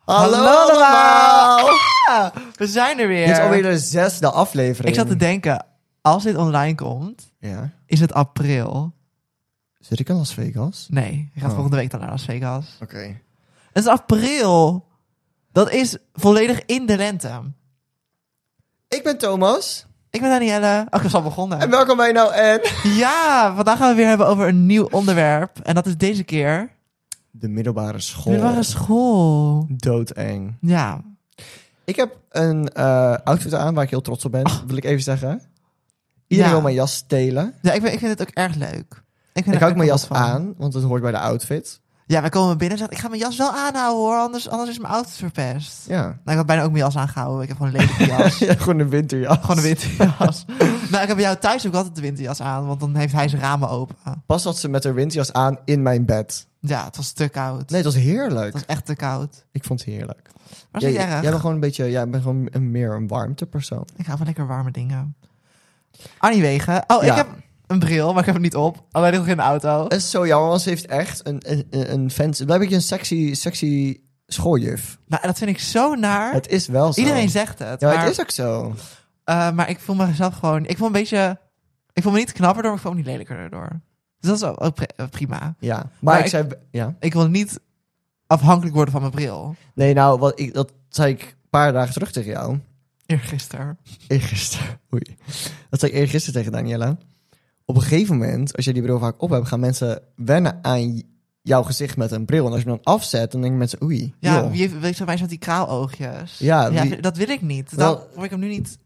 Hallo, allemaal. allemaal! Ja, we zijn er weer. Dit is alweer de zesde aflevering. Ik zat te denken, als dit online komt, Ja. is het april. Zit ik in Las Vegas? Nee, je gaat Oh. volgende week dan naar Las Vegas. Oké. Het is april. Dat is volledig in de lente. Ik ben Thomas. Ik ben Danielle. Oh, ik was al En begonnen. welkom bij Nou En... Ja, vandaag gaan we weer hebben over een nieuw onderwerp. En dat is deze keer... De middelbare school. Middelbare school. Doodeng. Ja. Ik heb een eh, outfit aan waar ik heel trots op ben, wil ik even zeggen. Iedereen Ah. Ja. wil mijn jas stelen. ja ik, ben, ik vind het ook erg leuk. Ik, vind er echt Ik hou ook mijn wel jas van. aan, want het hoort bij de outfit. Ja, wij komen binnen en zeggen, ik ga mijn jas wel aanhouden hoor, anders, anders is mijn outfit verpest. Ja. Nou, ik had bijna ook mijn jas aangehouden. Ik heb gewoon een lelijke jas. ja gewoon een winterjas. Gewoon een winterjas. nou, ik heb bij jou thuis ook altijd de winterjas aan, want dan heeft hij zijn ramen open. Pas had ze met haar winterjas aan in mijn bed. Ja, het was te koud. Nee, het was heerlijk. Het was echt te koud. Ik vond het heerlijk. Maar is jij, niet Ah. erg. jij bent gewoon een beetje, jij bent gewoon een- meer een warmtepersoon. Ik hou van lekker warme dingen. Annie Wegen. Oh, Ja. ik heb een bril, maar ik heb hem niet op. Alleen nog in de auto. Het is zo jammer, want ze heeft echt een, een, een een fancy... Blijf ik een sexy, sexy schooljuf. Nou, dat vind ik zo naar. Het is wel zo. Iedereen zegt het. Ja, maar maar, het is ook zo. eh, maar ik voel mezelf gewoon... Ik voel een beetje... Ik voel me niet knapper door, maar ik voel me niet lelijker daardoor. Dus dat is ook- ook pri- eh, prima. Ja. Maar, Maar ik, ik- zei... Ja. Ik wil niet afhankelijk worden van mijn bril. Nee, nou, wat ik, dat zei ik een paar dagen terug tegen jou. Eergisteren. Eergisteren. Oei. Dat zei ik eergisteren tegen Daniela. Op een gegeven moment, als je die bril vaak op hebt, gaan mensen wennen aan j- jouw gezicht met een bril. En als je hem dan afzet, dan denken mensen, oei, Ja, joh. wie heeft, weet je, zo'n meisje met die kraaloogjes. Ja, wie- dat wil ik niet. Wel- Dan probeer ik hem nu niet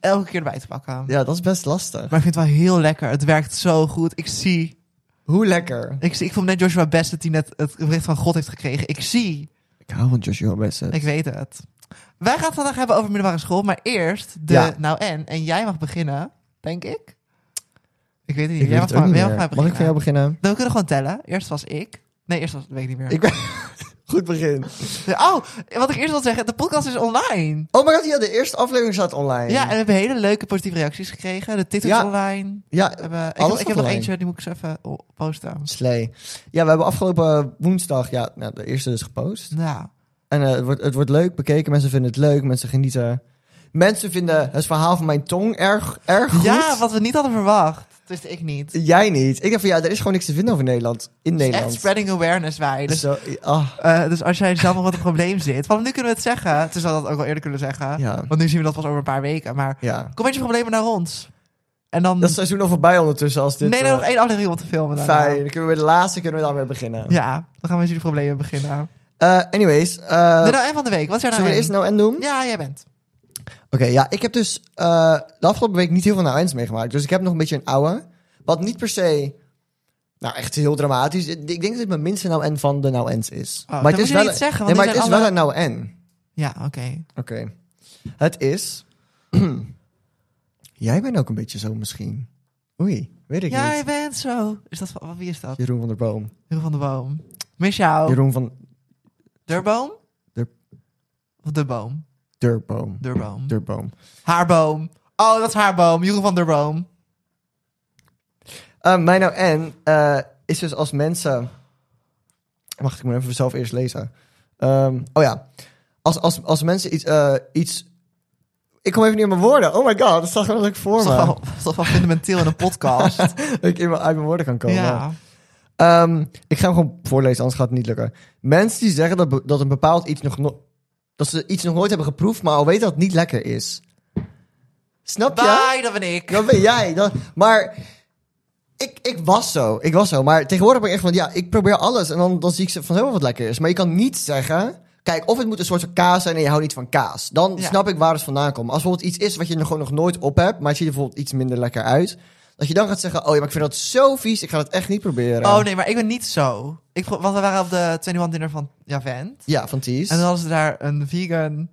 elke keer erbij te pakken. ja, dat is best lastig. Maar ik vind het wel heel lekker. Het werkt zo goed. Ik zie. Hoe lekker. Ik, zie, ik vond net Joshua Best dat hij net het bericht van God heeft gekregen. Ik zie. Ik hou van Joshua Bassett. Ik weet het. Wij gaan het vandaag hebben over middelbare school. Maar eerst de Ja. nou en. En jij mag beginnen, denk ik. Ik weet het niet. jij Ik weet mag, het ook van, niet jij meer. mag, van mij Mag ik van jou beginnen. beginnen? Dan, we kunnen gewoon tellen. Eerst was ik. Nee, eerst was... Weet ik niet meer. Ik ben... Goed begin. Oh, wat ik eerst wil zeggen. De podcast is online. Oh my god, ja, de eerste aflevering staat online. Ja, en we hebben hele leuke positieve reacties gekregen. De titel is Ja. online. ja We hebben, ik Alles heb, ik heb nog online. eentje, die moet ik eens even o- posten. slee. Ja, we hebben afgelopen woensdag, ja, nou, de eerste dus gepost. Ja. En eh, het, wordt, het wordt leuk bekeken, mensen vinden het leuk, mensen genieten. Mensen vinden het verhaal van mijn tong erg, erg goed. ja, wat we niet hadden verwacht. Dat wist ik niet. Jij niet. Ik dacht van, ja, er is gewoon niks te vinden over Nederland. In Het is Nederland. Echt spreading awareness wij. Dus, Zo, ah, eh, dus als jij zelf nog wat een probleem zit, vanaf nu kunnen we het zeggen. Het is dat we dat ook wel eerder kunnen zeggen. ja, Want nu zien we dat pas over een paar weken. Maar ja. kom met je problemen naar ons. En dan. Dat is seizoen al voorbij ondertussen als dit... nee, nee, eh, nog één aflevering om te filmen. daarna. Fijn, dan kunnen we de laatste kunnen we daarmee beginnen. Ja, dan gaan we met jullie problemen beginnen. Eh, anyways, eh de nou en van de week, wat zijn nou zullen we eerst en? nou en doen? Ja, jij bent. Oké, ja, ik heb dus eh, de afgelopen week niet heel veel naar eens meegemaakt. Dus ik heb nog een beetje een ouwe. Wat niet per se, nou echt heel dramatisch. Ik ik denk dat dit mijn minste nou en van de nou ens is. Oh, dat moet je niet een- zeggen, nee, want die maar het is zijn wel alle- een nou en. Ja, oké. Oké. Het is. Jij bent ook een beetje zo misschien. Oei, weet ik Jij niet. bent zo. Is dat, van- wie is dat? Jeroen van der Boom. Jeroen van de Boom. Mis jou. Jeroen van Der boom? Der- Of de boom? der Boom. Der boom. Der Boom. Haar boom. Oh, dat is haar boom. Jeroen van der boom. Eh, mijn nou en eh, is dus als mensen. Wacht, ik moet even zelf eerst lezen. Ehm, oh ja. Als, als, als mensen iets, eh, iets. Ik kom even niet op mijn woorden. Oh my god, dat staat gewoon leuk voor Dat is me. toch wel- dat is toch wel fundamenteel in een podcast. Dat ik in mijn, uit mijn woorden kan komen. ja. Ehm, ik ga hem gewoon voorlezen, anders gaat het niet lukken. Mensen die zeggen dat, be- dat een bepaald iets nog. no- dat ze iets nog nooit hebben geproefd, maar al weten dat het niet lekker is. Snap je? Bye, dat ben ik. Dat ben jij. Dat, maar ik, ik was zo. Ik was zo. Maar tegenwoordig ben ik echt van, ja, ik probeer alles. En dan, dan zie ik ze vanzelf wel wat lekker is. Maar je kan niet zeggen... Kijk, of het moet een soort van kaas zijn en je houdt niet van kaas. Dan Ja. snap ik waar het vandaan komt. Als bijvoorbeeld iets is wat je nog gewoon nog nooit op hebt... maar het ziet er bijvoorbeeld iets minder lekker uit... dat je dan gaat zeggen, oh ja, maar ik vind dat zo vies... ik ga dat echt niet proberen. Oh nee, maar ik ben niet zo. Ik, vro- want we waren op de 21 dinner van Javent. Ja, van Ties. En dan hadden ze daar een vegan...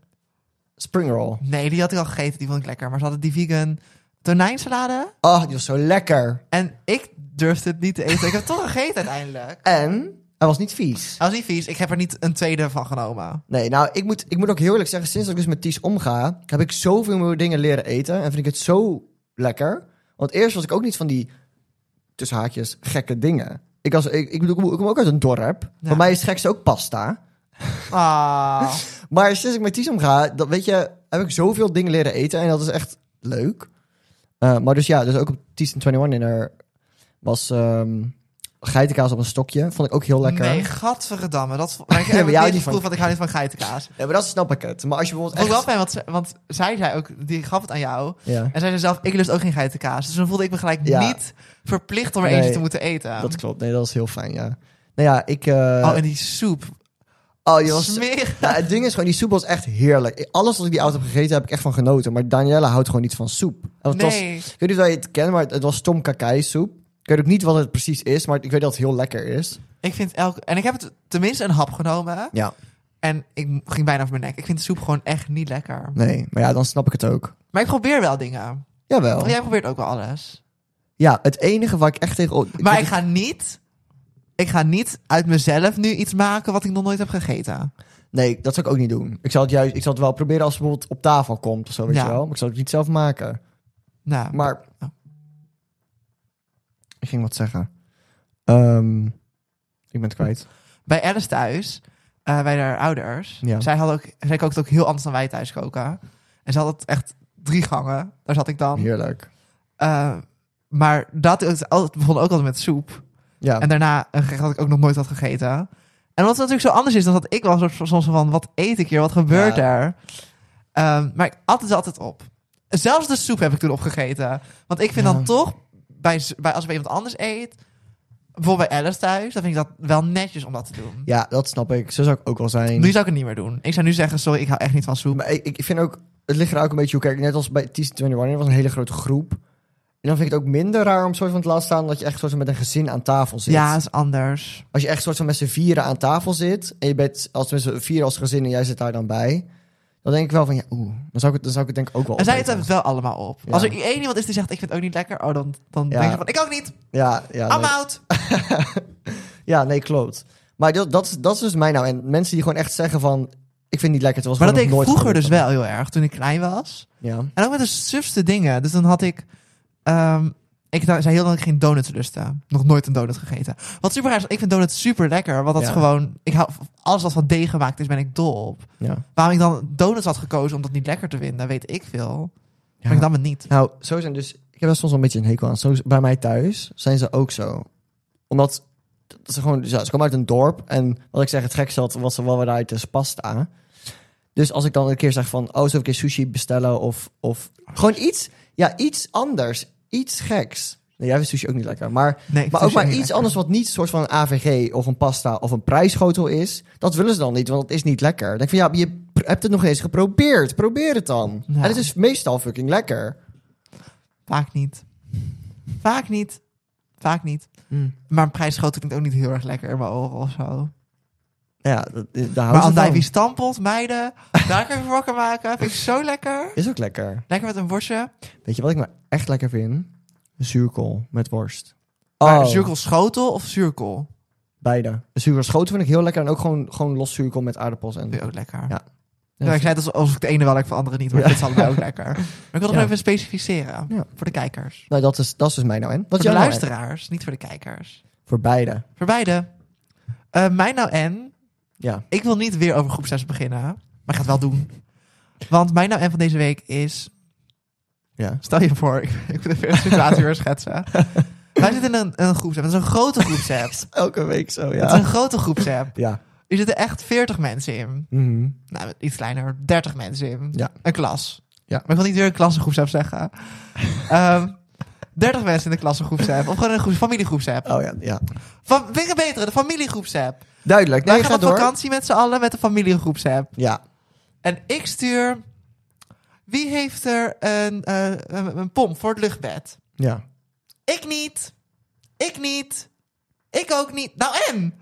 Springroll. Nee, die had ik al gegeten. Die vond ik lekker. Maar ze hadden die vegan tonijnsalade. Oh, die was zo lekker. En ik durfde het niet te eten. Ik heb het toch gegeten uiteindelijk. En hij was niet vies. Dat was niet vies. Ik heb er niet een tweede van genomen. Nee, nou, ik moet, ik moet ook heel eerlijk zeggen, sinds dat ik dus met Ties omga, heb ik zoveel meer dingen leren eten. En vind ik het zo lekker. Want eerst was ik ook niet van die, tussen haakjes, gekke dingen. Ik, was, ik, ik bedoel, ik kom ook uit een dorp. Ja. Voor mij is het gekste ook pasta. Ah. Maar sinds ik met Tisam ga, dat weet je, heb ik zoveel dingen leren eten en dat is echt leuk. Eh, maar dus ja, dus ook op Tisam 21 Dinner was ehm geitenkaas op een stokje. Vond ik ook heel lekker. Nee, gadverdamme. Dat, maar ik Ja, maar heb jij houdt het niet gevoel van- van, ik hou niet van geitenkaas. Ja, maar dat is een snappakket. Maar als je Vond ik bijvoorbeeld wel echt... fijn, want, ze- want zij zei ook, die gaf het aan jou. Ja, En zij zei zelf, ik lust ook geen geitenkaas. Dus dan voelde ik me gelijk Ja. niet verplicht om er Nee, eentje te moeten eten. dat klopt. Nee, dat is heel fijn, ja. Nou ja, ik... eh, oh, en die soep. oh, die was... Smerig. Ja, het ding is gewoon, die soep was echt heerlijk. Ik- Alles wat ik die auto heb gegeten, heb ik echt van genoten. Maar Danielle houdt gewoon niet van soep. En het was, Nee. ik weet niet of je het kent, maar het, het was stom kakaisoep. Ik weet ook niet wat het precies is, maar ik weet dat het heel lekker is. Ik vind elke... En ik heb het tenminste een hap genomen. Ja. En ik m- ging bijna over mijn nek. Ik vind de soep gewoon echt niet lekker. Nee, maar ja, dan snap ik het ook. Maar ik probeer wel dingen. Jawel. Want Ja, Jij probeert ook wel alles. het enige waar ik echt tegen... oh, op- Maar vind ik ga niet... Ik ga niet uit mezelf nu iets maken wat ik nog nooit heb gegeten. het- Nee, dat zou ik ook niet doen. Ik zal het juist... Ik zal het wel proberen als het bijvoorbeeld op tafel komt of zo, weet Ja. je wel. Maar ik zal het niet zelf maken. Nou, Maar... Oh. Ik ging wat zeggen. Ehm, ik ben het kwijt. bij Alice thuis, eh, bij haar ouders, Ja. zij, had ook, zij kookte ook heel anders dan wij thuis koken. En ze had het echt drie gangen, daar zat ik dan. Heerlijk. Eh, maar dat het al- het begon ook altijd met soep. Ja. En daarna een gerecht dat ik ook nog nooit had gegeten. En omdat het natuurlijk zo anders is dan dat ik wel soort van- soms van, wat eet ik hier, wat gebeurt Ja. er? Ehm, maar ik at het altijd op. Zelfs de soep heb ik toen opgegeten. Want ik vind Ja. dan toch, bij, z- bij, als ik bij iemand anders eet, bijvoorbeeld bij Alice thuis, dan vind ik dat wel netjes om dat te doen. Ja, dat snap ik. Zo zou ik ook wel zijn. Nu zou ik het niet meer doen. Ik zou nu zeggen, sorry, ik hou echt niet van soep. Maar ik, ik vind ook, het ligt er ook een beetje hoe kijk. Net als bij Teaser 21, er was een hele grote groep. En dan vind ik het ook minder raar om soort van te laten staan dat je echt soort van met een gezin aan tafel zit. ja, is anders. Als je echt soort van met z'n vieren aan tafel zit. En je bent als met z'n vieren als gezin en jij zit daar dan bij. Dan denk ik wel van ja, oeh, dan zou ik het, dan zou ik het denk ik ook wel. En zij het opeten. het wel allemaal op. Ja. Als er één iemand is die zegt, ik vind het ook niet lekker, oh, dan, dan Ja. denk je van, ik ook niet, Ja, ja, I'm nee. out. ja, nee, klopt. Maar dat, dat, is- dat is dus mij nou. En mensen die gewoon echt zeggen van, ik vind het niet lekker. Het was Maar dat gewoon deed ik nog nooit vroeger dus gebeurd. wel heel erg, toen ik klein was. Ja. En ook met de sufste dingen. Dus dan had ik... ehm, ik dacht- zei heel lang geen donuts lusten. Nog nooit een donut gegeten. Wat super raar is, want ik vind donuts super lekker. Want dat is Ja. gewoon... Ik hou, alles wat van deeg gemaakt is, ben ik dol op. Ja. Waarom ik dan donuts had gekozen om dat niet lekker te vinden, weet ik veel. Maar Ja. ik nam het niet. Nou, zo zijn dus. Ik heb daar soms wel een beetje een hekel aan. Zo, bij mij thuis zijn ze ook zo. Omdat dat ze gewoon. ja, ze komen uit een dorp. En wat ik zeg, het gekste had, wat ze wel weer uit is pasta. Dus als ik dan een keer zeg van. Oh, zullen we een keer sushi bestellen? Of. of gewoon iets. Ja, iets anders. Iets geks. Nee, jij vindt sushi ook niet lekker. Maar, Nee, ik vind maar ook ze maar niet iets lekker. anders wat niet een soort van een AVG of een pasta of een prijsschotel is. Dat willen ze dan niet, want het is niet lekker. Dan denk ik van ja, je pr- hebt het nog eens geprobeerd. Probeer het dan. Ja. En het is meestal fucking lekker. Vaak niet. Vaak niet. Vaak niet. Hmm. Maar een prijsschotel klinkt ook niet heel erg lekker in mijn oren of zo. Ja, dat, daar Maar hou ik andijvie van. stampot, meiden, daar kun je voor wakker maken. Vind ik zo lekker. Is ook lekker. Lekker met een worstje. Weet je wat ik nou echt lekker vind? Zuurkool met worst. Oh, Maar zuurkool schotel of zuurkool? Beide. Zuurkool schoten vind ik heel lekker. En ook gewoon, gewoon los zuurkool met aardappels. En, Vind ik ook lekker. Ja. Ja, ik zei het alsof ik de ene wel lekker, van de andere niet. Maar Ja. dit is allebei ook lekker. Maar ik wil het Ja. nog even specificeren. Ja. Voor de kijkers. Nou, dat is, dat is dus mij nou en. Wat voor jij de nou en? luisteraars, niet voor de kijkers. Voor beide. Voor beide. Eh mij nou en... Ja. Ik wil niet weer over groep 6 beginnen. Maar ik ga het wel doen. Want mijn nou en van deze week is... Ja. Stel je voor, ik, ik moet even een situatie weer schetsen. Wij zitten in een, een groepsapp. Dat is een grote groepsapp. Elke week zo, Dat is een grote groepsapp. Ja. Er zitten echt 40 mensen in. Mhm. Nou, iets kleiner. 30 mensen in. Ja. Een klas. Ja. Maar ik wil niet weer een klassengroepsapp zeggen. Ehm 30 mensen in een klassengroepsapp. Of gewoon een groep, familiegroepsapp. Oh ja, ja. Van, vind ik een betere, de familiegroepsapp. Duidelijk. Nee, Wij ga gaan op door. vakantie met z'n allen met de familiegroepsapp. Ja. En ik stuur. Wie heeft er een, eh, een, een pomp voor het luchtbed? Ja. Ik niet. Ik niet. Ik ook niet. Nou en?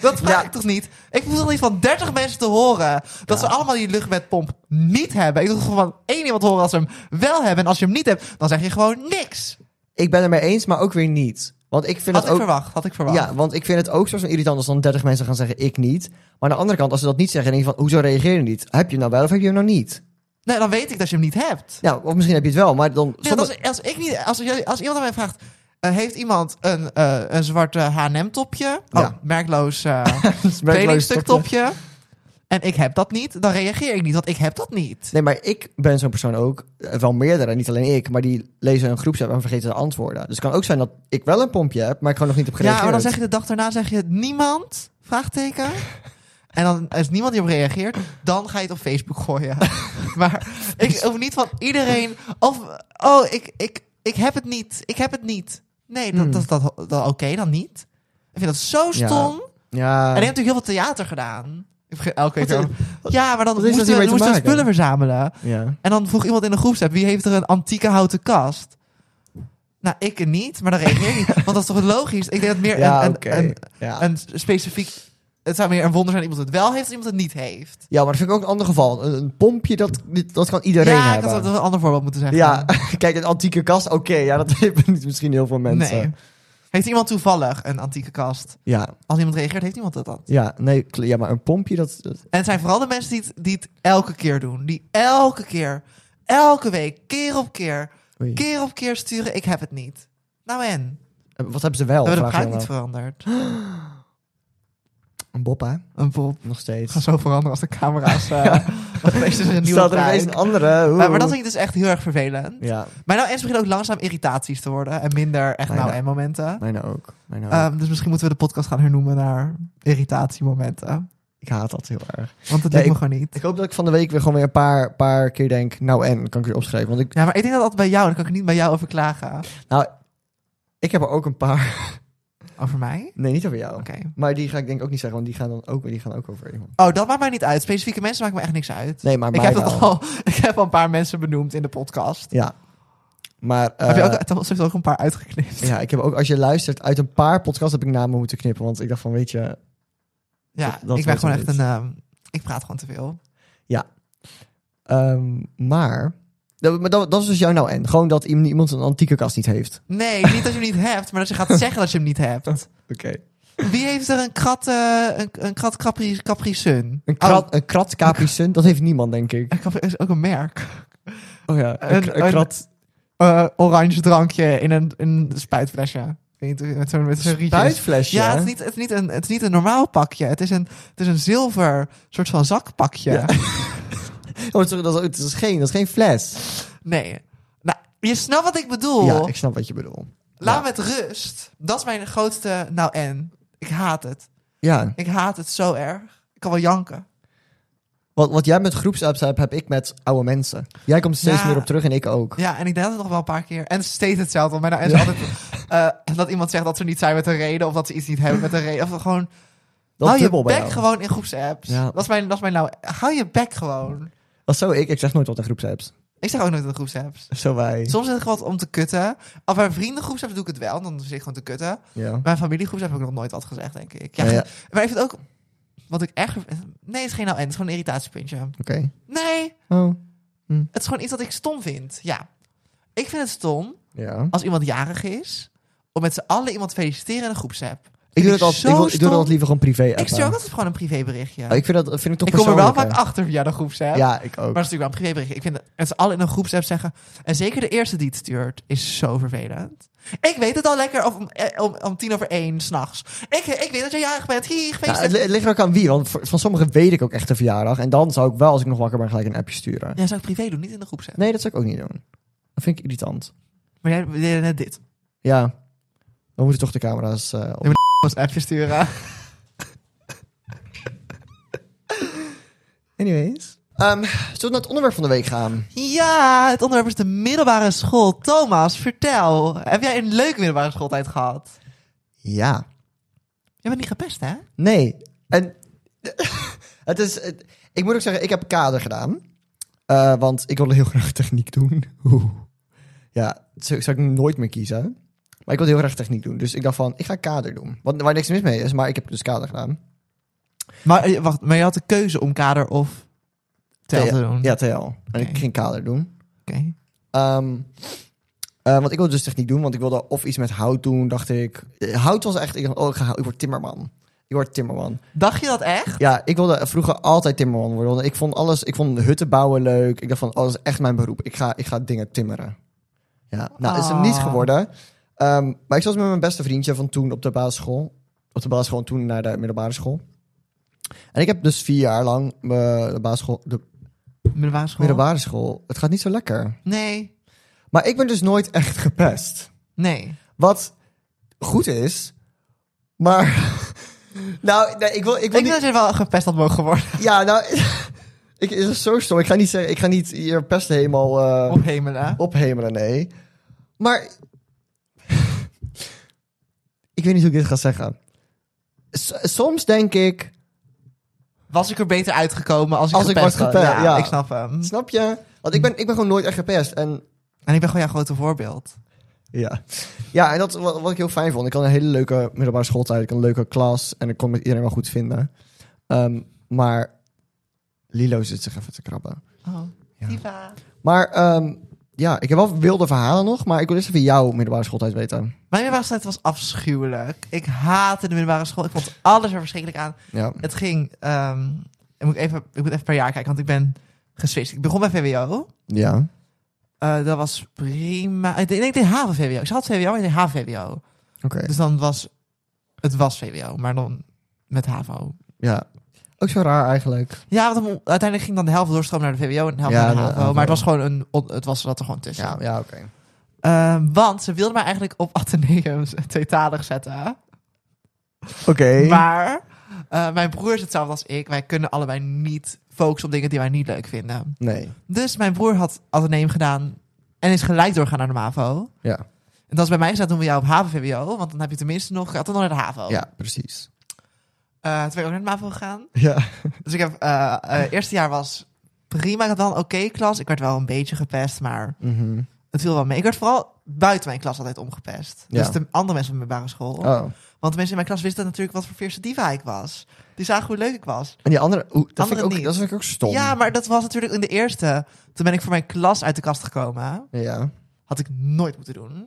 Dat vraag Ja. ik toch niet? Ik hoef toch niet van 30 mensen te horen dat ze allemaal die luchtbedpomp niet hebben. Ik wil gewoon van één iemand horen als ze hem wel hebben. En als je hem niet hebt, dan zeg je gewoon niks. Ik ben het mee eens, maar ook weer niet. Want ik vind Had het ik ook... verwacht. Had ik verwacht. Ja, want ik vind het ook soort van irritant als dan 30 mensen gaan zeggen ik niet. Maar aan de andere kant, als ze dat niet zeggen, dan denk je van hoezo reageer je niet? Heb je hem nou wel of heb je hem nou niet? Nee, dan weet ik dat je hem niet hebt. Nou, of misschien heb je het wel, maar dan... Nee, zonder- want als, als, ik niet, als, jij- als iemand aan mij vraagt... eh, heeft iemand een, eh, een zwarte H&M-topje? Ja. Oh, merkloos eh Dat is merkloos kledingstuk topje. topje. en ik heb dat niet, dan reageer ik niet, want ik heb dat niet. Nee, maar ik ben zo'n persoon ook. Eh, Wel meerdere, niet alleen ik. Maar die lezen een groepsapp en vergeten de antwoorden. Dus het kan ook zijn dat ik wel een pompje heb, maar ik gewoon nog niet heb gereageerd. Ja, maar dan zeg je de dag daarna zeg je niemand? Vraagteken. En dan is niemand die op reageert, dan ga je het op Facebook gooien. maar ik hoef niet van iedereen of oh, ik, ik, ik heb het niet. Ik heb het niet. Nee, dat, Hmm. dat, dat, dat- oké, dan niet. Ik vind dat zo Ja. eh, stom. Ja, En ik heb natuurlijk heel veel theater gedaan. Ik begin elke keer. Wat over- ja, maar dan wat moesten heeft dat we, hiermee te moesten we maken? spullen verzamelen. ja. En dan vroeg iemand in de groepsapp, wie heeft er een antieke houten kast? Nou, ik niet, maar dan reageer ik niet. Want dat is toch logisch? Ik denk dat meer Ja, een, een, oké. een, Ja. een specifiek... Het zou meer een wonder zijn dat iemand het wel heeft... of iemand het niet heeft. ja, maar dat vind ik ook een ander geval. Een, een pompje, dat, dat kan iedereen ja, ik hebben. had dat een ander voorbeeld moeten zeggen. Ja, kijk, een antieke kast, oké. ja, dat hebben niet misschien heel veel mensen. Nee. Heeft iemand toevallig een antieke kast? Ja, Als iemand reageert, heeft iemand dat dan? ja, nee, kl- ja, maar een pompje, dat... dat- En het zijn vooral de mensen die het, die het elke keer doen. Die elke keer, elke week, keer op keer, oei. keer op keer sturen... ik heb het niet. Nou en? Eh, Wat hebben ze wel? We hebben de Vraag je prijs niet dan veranderd. wel. Een bob, hè? Een pop. Het Nog gaat steeds. zo veranderen als de camera's. eh opeens is er een nieuwe Staat er prijs. ineens een andere? maar, maar dat oeh. vind ik dus echt heel erg vervelend. Ja, Maar nou eens beginnen ook langzaam irritaties te worden. En minder echt Bijna. nou en momenten. mijne ook. Mijne ook. Ehm, dus misschien moeten we de podcast gaan hernoemen naar irritatiemomenten. ik haat dat heel erg. Want dat Ja, lukt me ik- gewoon niet. Ik hoop dat ik van de week weer gewoon weer een paar, paar keer denk... Nou en, kan ik weer opschrijven. Want ik, nou, Ja, maar ik denk dat altijd bij jou. Dan kan ik niet bij jou over klagen. ik heb er ook een paar... Over mij? Nee, niet over jou. Oké. Maar die ga ik denk ik ook niet zeggen, want die gaan dan ook, die gaan ook over iemand. Oh, dat maakt mij niet uit. Specifieke mensen maken me echt niks uit. Nee, maar ik, mij heb dat wel. al, ik heb al een paar mensen benoemd in de podcast. Ja. Maar... heb je eh, ook, Thomas heeft ook een paar uitgeknipt. Ja, ik heb ook, als je luistert, uit een paar podcasts heb ik namen moeten knippen. Want ik dacht van, weet je... Ja, dat- dat ik ben wordt gewoon het echt een... ehm, ik praat gewoon te veel. ehm, maar... Dat, maar dat, dat is dus jouw nou en. Gewoon dat iemand iemand een antieke kast niet heeft. Nee, niet dat je hem niet hebt, maar dat je gaat zeggen dat je hem niet hebt. Oké. Wie heeft er een krat, eh, een, een krat Capri, Capri Sun? Een, Oh, krat, een krat Capri Sun, dat heeft niemand, denk ik. een Capri- is ook een merk. Oh ja, een- een, een- krat... Eh, oranje drankje in een, in een spuitflesje. Weet je, Met zo'n met zo'n rietje. Spuitflesje? Ja, het is, niet, het, is niet een, het is niet een normaal pakje. Het is een, het is een zilver soort van zakpakje. Ja. Oh, het is- dat, is- het is geen, dat is geen fles. Oh. Nee. Nou, je snapt wat ik bedoel. Ja, ik snap wat je bedoelt. Laat ja. me met rust. Dat is mijn grootste nou en. Ik haat het. Ja, Ik haat het zo erg. Ik kan wel janken. wat, wat jij met groepsapps hebt, heb ik met oude mensen. Jij komt er steeds Ja. meer op terug en ik ook. Ja, en ik denk dat het nog wel een paar keer. En steeds hetzelfde. Want mij nou, en is altijd eh, dat iemand zegt dat ze niet zijn met een reden. Of dat ze iets niet hebben met een reden. Of gewoon. Dat hou je dubbel bij bek jou. gewoon in groepsapps. Ja. Dat, is mijn, dat is mijn nou. Hou je bek gewoon. Dat is zo ik, ik zeg nooit wat in groepsapps. Ik zeg ook nooit in de groepsapps. Zo wij. Soms is het gewoon om te kutten. Of bij vriendengroepsapps doe ik het wel. Dan zit ik gewoon te kutten. Ja. Bij familiegroepsapps heb ik nog nooit wat gezegd, denk ik. Ja, Ja, ja. Maar ik vind ook. Wat ik echt. Nee, het is geen nou en. Het is gewoon een irritatiepuntje. Oké. Nee, Oh. het is gewoon iets dat ik stom vind. Ja. Ik vind het stom Ja. als iemand jarig is, om met z'n allen iemand te feliciteren in een groepsapp. Ik doe, dat al. altijd, ik, wil- ik doe dat altijd liever gewoon privé. Ik stuur ook altijd gewoon een privéberichtje. Oh, ik vind dat vind ik toch ik kom er wel vaak persoonlijker. achter via de groepsapp. Ja, ik Maar ook. dat is natuurlijk wel een privéberichtje. Ik vind dat met z'n allen in een groepsapp zeggen. En zeker de eerste die het stuurt, is zo vervelend. Ik weet het al lekker of om, eh, om, om tien over één s'nachts. Ik, ik weet dat jij jarig bent. Hier, Ja, het, gefeliciteerd. li- het ligt er ook aan wie, want voor- van sommigen weet ik ook echt de verjaardag. En dan zou ik wel, als ik nog wakker ben, gelijk een appje sturen. Ja, zou ik privé doen, niet in de groepsapp. Nee, dat zou ik ook niet doen. Dat vind ik irritant. Maar jij jij deed net dit. Ja, we moeten toch de camera's eh, op. Ja, Als appje sturen. Anyways. Ehm, zullen we naar het onderwerp van de week gaan? Ja, het onderwerp is de middelbare school. Thomas, vertel. Heb jij een leuke middelbare schooltijd gehad? Ja. Je bent niet gepest, hè? Nee. En het is. het- ik moet ook zeggen, ik heb kader gedaan. Eh, want ik wilde heel graag techniek doen. Oeh. Ja, dat zou zou ik nooit meer kiezen. Maar ik wilde heel graag techniek doen. Dus ik dacht van, ik ga kader doen. Wat, waar niks mis mee is, maar ik heb dus kader gedaan. Maar eh, wacht, maar je had de keuze om kader of tel te doen. Ja, TL. En ik Oké. ging kader doen. Oké. Ehm, eh, want ik wilde dus techniek doen, want ik wilde of iets met hout doen, dacht ik. Eh, Hout was echt, ik dacht, oh, ik, ga, hou- ik word timmerman. Ik word timmerman. Dacht je dat echt? Ja, ik wilde vroeger altijd timmerman worden. want ik vond alles, ik vond hutten bouwen leuk. Ik dacht van, oh, dat is echt mijn beroep. Ik ga, ik ga dingen timmeren. Ja, nou, is het niet Ah. geworden. Ehm, maar ik zat met mijn beste vriendje van toen op de basisschool. Op de basisschool en toen naar de middelbare school. En ik heb dus vier jaar lang eh, de, basisschool, de Middelbare school? middelbare school. Het gaat niet zo lekker. Nee, Maar ik ben dus nooit echt gepest. nee. Wat goed is, maar... Nou, nee, ik wil, ik wil Ik denk niet- dat je wel gepest had mogen worden. Ja, nou... ik, is het zo stom. Ik ga niet zeggen... Ik ga niet hier pest helemaal... eh, Op hemelen. ophemelen, nee. Maar ik weet niet hoe ik dit ga zeggen. S- soms denk ik, Was ik er beter uitgekomen als ik Als ik gepest was had? gepest, ja. ik snap hem. snap je? Want ik ben, ik ben gewoon nooit echt gepest. En En ik ben gewoon jouw grote voorbeeld. ja, ja en dat is wat, wat ik heel fijn vond. Ik had een hele leuke middelbare schooltijd. Ik had een leuke klas en ik kon met iedereen wel goed vinden. Ehm, maar Lilo zit zich even te krabben. Oh, Ja. diva. Maar ehm, ja, ik heb wel wilde verhalen nog. Maar ik wil eerst even jouw middelbare schooltijd weten. Mijn middelbare school was afschuwelijk. Ik haatte de middelbare school. Ik vond alles er verschrikkelijk aan. Ja. Het ging... ehm, ik, moet even, ik moet even per jaar kijken, want ik ben geswitcht. Ik begon bij VWO. Ja. Eh, dat was prima. Ik denk ik deed HAVO-VWO. Ik zat VWO, maar ik deed HAVO-VWO. Oké. Dus dan was... Het was VWO, maar dan met HAVO. Ja. Ook zo raar eigenlijk. Ja, want om- uiteindelijk ging dan de helft doorstromen naar de VWO en de helft Ja, naar de de HAVO. HAVO. Maar het was gewoon een... on- Het was wat er gewoon tussen. Ja, ja oké. Ehm, want ze wilden mij eigenlijk op Atheneum tweetalig zetten. Oké. Maar eh, mijn broer is hetzelfde als ik. Wij kunnen allebei niet focussen op dingen die wij niet leuk vinden. Nee. Dus mijn broer had Atheneum gedaan en is gelijk doorgaan naar de MAVO. Ja. En dat is bij mij gezegd, doen we jou op HAVO-VWO. Want dan heb je tenminste nog, gaat dan nog naar de HAVO. Ja, precies. Eh, toen ben ik ook naar de MAVO gegaan. Ja. Dus ik heb, eh, eh, eerste jaar was prima. Ik had wel een oké klas. Ik werd wel een beetje gepest, maar Mhm. het viel wel mee. Ik werd vooral buiten mijn klas altijd omgepest. Dus Ja. de andere mensen van mijn middelbare school. Oh. Want de mensen in mijn klas wisten natuurlijk wat voor fierce diva ik was. Die zagen hoe leuk ik was. En die andere, oeh, dat, Andere vind ik ook, niet. dat vind ik ook stom. Ja, maar dat was natuurlijk in de eerste. Toen ben ik voor mijn klas uit de kast gekomen. Ja. Had ik nooit moeten doen.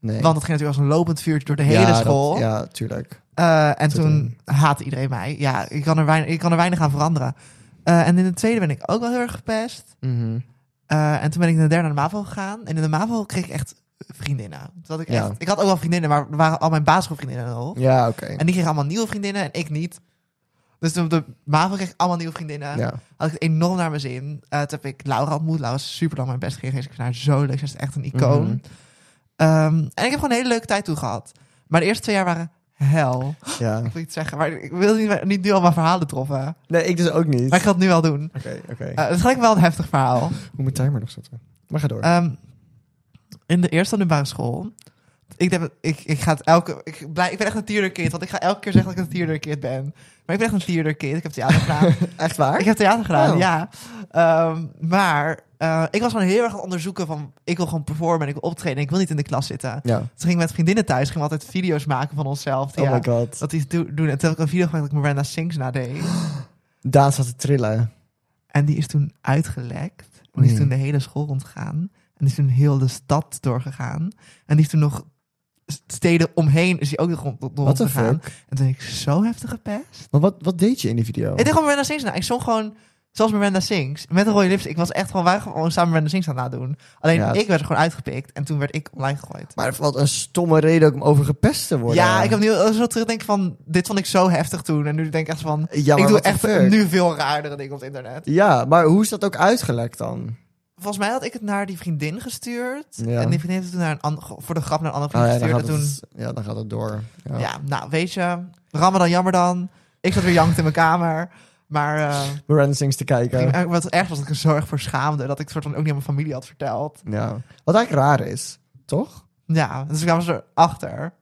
Nee. Want het ging natuurlijk als een lopend vuurtje door de Ja, hele dat- school. ja, tuurlijk. Eh, en Tot toen haatte iedereen mij. Ja, ik kan er weinig, ik kan er weinig aan veranderen. Eh, en in de tweede ben ik ook wel heel erg gepest. Mhm. Eh, en toen ben ik in de derde naar de MAVO gegaan. En in de MAVO kreeg ik echt vriendinnen. Toen had ik, Ja. echt, ik had ook wel vriendinnen, maar er waren al mijn basisschoolvriendinnen al. Ja, oké. En die kregen allemaal nieuwe vriendinnen en ik niet. Dus toen op de MAVO kreeg ik allemaal nieuwe vriendinnen. Ja. Had ik het enorm naar mijn zin. Eh, toen heb ik Laura ontmoet. Laura is super lang mijn best gegeven. Ik vind haar zo leuk. Ze is echt een icoon. Mhm. Ehm, en ik heb gewoon een hele leuke tijd toe gehad. Maar de eerste twee jaar waren hel. ja. Ik wil iets zeggen, maar ik wil niet, niet nu al mijn verhalen troffen. Nee, ik dus ook niet. Maar ik ga het nu wel doen. Oké, oké. Eh het is gelijk wel een heftig verhaal. Hoe moet timer nog zetten? Maar ga door. Ehm, in de eerste middelbare school. Ik, denk, dat- ik, ik, ga het elke, ik, blij, ik ben echt een tierderkind, want ik ga elke keer zeggen dat ik een tierderkind ben. Maar ik ben echt een tierderkind. Ik heb theater gedaan. eh, Echt waar? ik heb theater gedaan, Oh. ja. Ehm, maar eh, ik was gewoon heel erg aan het onderzoeken van... Ik wil gewoon performen en ik wil optreden en ik wil niet in de klas zitten. Ja. Toen gingen we met vriendinnen thuis, gingen we altijd video's maken van onszelf. Oh ja, my god. Dat iets do- doen. En toen heb ik een video gemaakt dat ik Miranda Sings nadeed. Daan zat te trillen. En die is toen uitgelekt. En die is Oei. toen de hele school rondgegaan. En die is toen heel de stad doorgegaan. En die is toen nog s- steden omheen is die ook nog rond, rond- What the rondgegaan. En toen ben ik zo heftig gepest. Maar wat, wat deed je in die video? Ik deed gewoon Miranda Sings na. Ik zong gewoon zoals Miranda Sings. Met een rode lips. Ik was echt gewoon, wij waren gewoon samen Miranda Sings aan het nadoen. Alleen Ja, het- ik werd er gewoon uitgepikt. En toen werd ik online gegooid. Maar wat een stomme reden ook om over gepest te worden. Ja, ik heb nu zo terugdenken van, dit vond ik zo heftig toen. En nu denk ik echt van, Ja, maar ik doe what the echt fuck? nu veel raardere dingen op het internet. Ja, maar hoe is dat ook uitgelekt dan? Oh volgens mij had ik het naar die vriendin gestuurd. Ja. En die vriendin heeft het toen naar een an- ge- voor de grap naar een andere Ah, vriendin ja, dan gaat gestuurd. En toen, het, dus- ja, dan gaat het door. ja. nou weet je, Ramadan jammer dan. Ik zat weer jankend in mijn kamer. Maar eh, Miranda Sings te ik ging kijken. eigenlijk- wat erg was dat ik er zo erg voor schaamde. Dat ik soort van ook niet aan mijn familie had verteld. Ja. Wat eigenlijk raar is, toch? Ja, dus ik kwam ze erachter.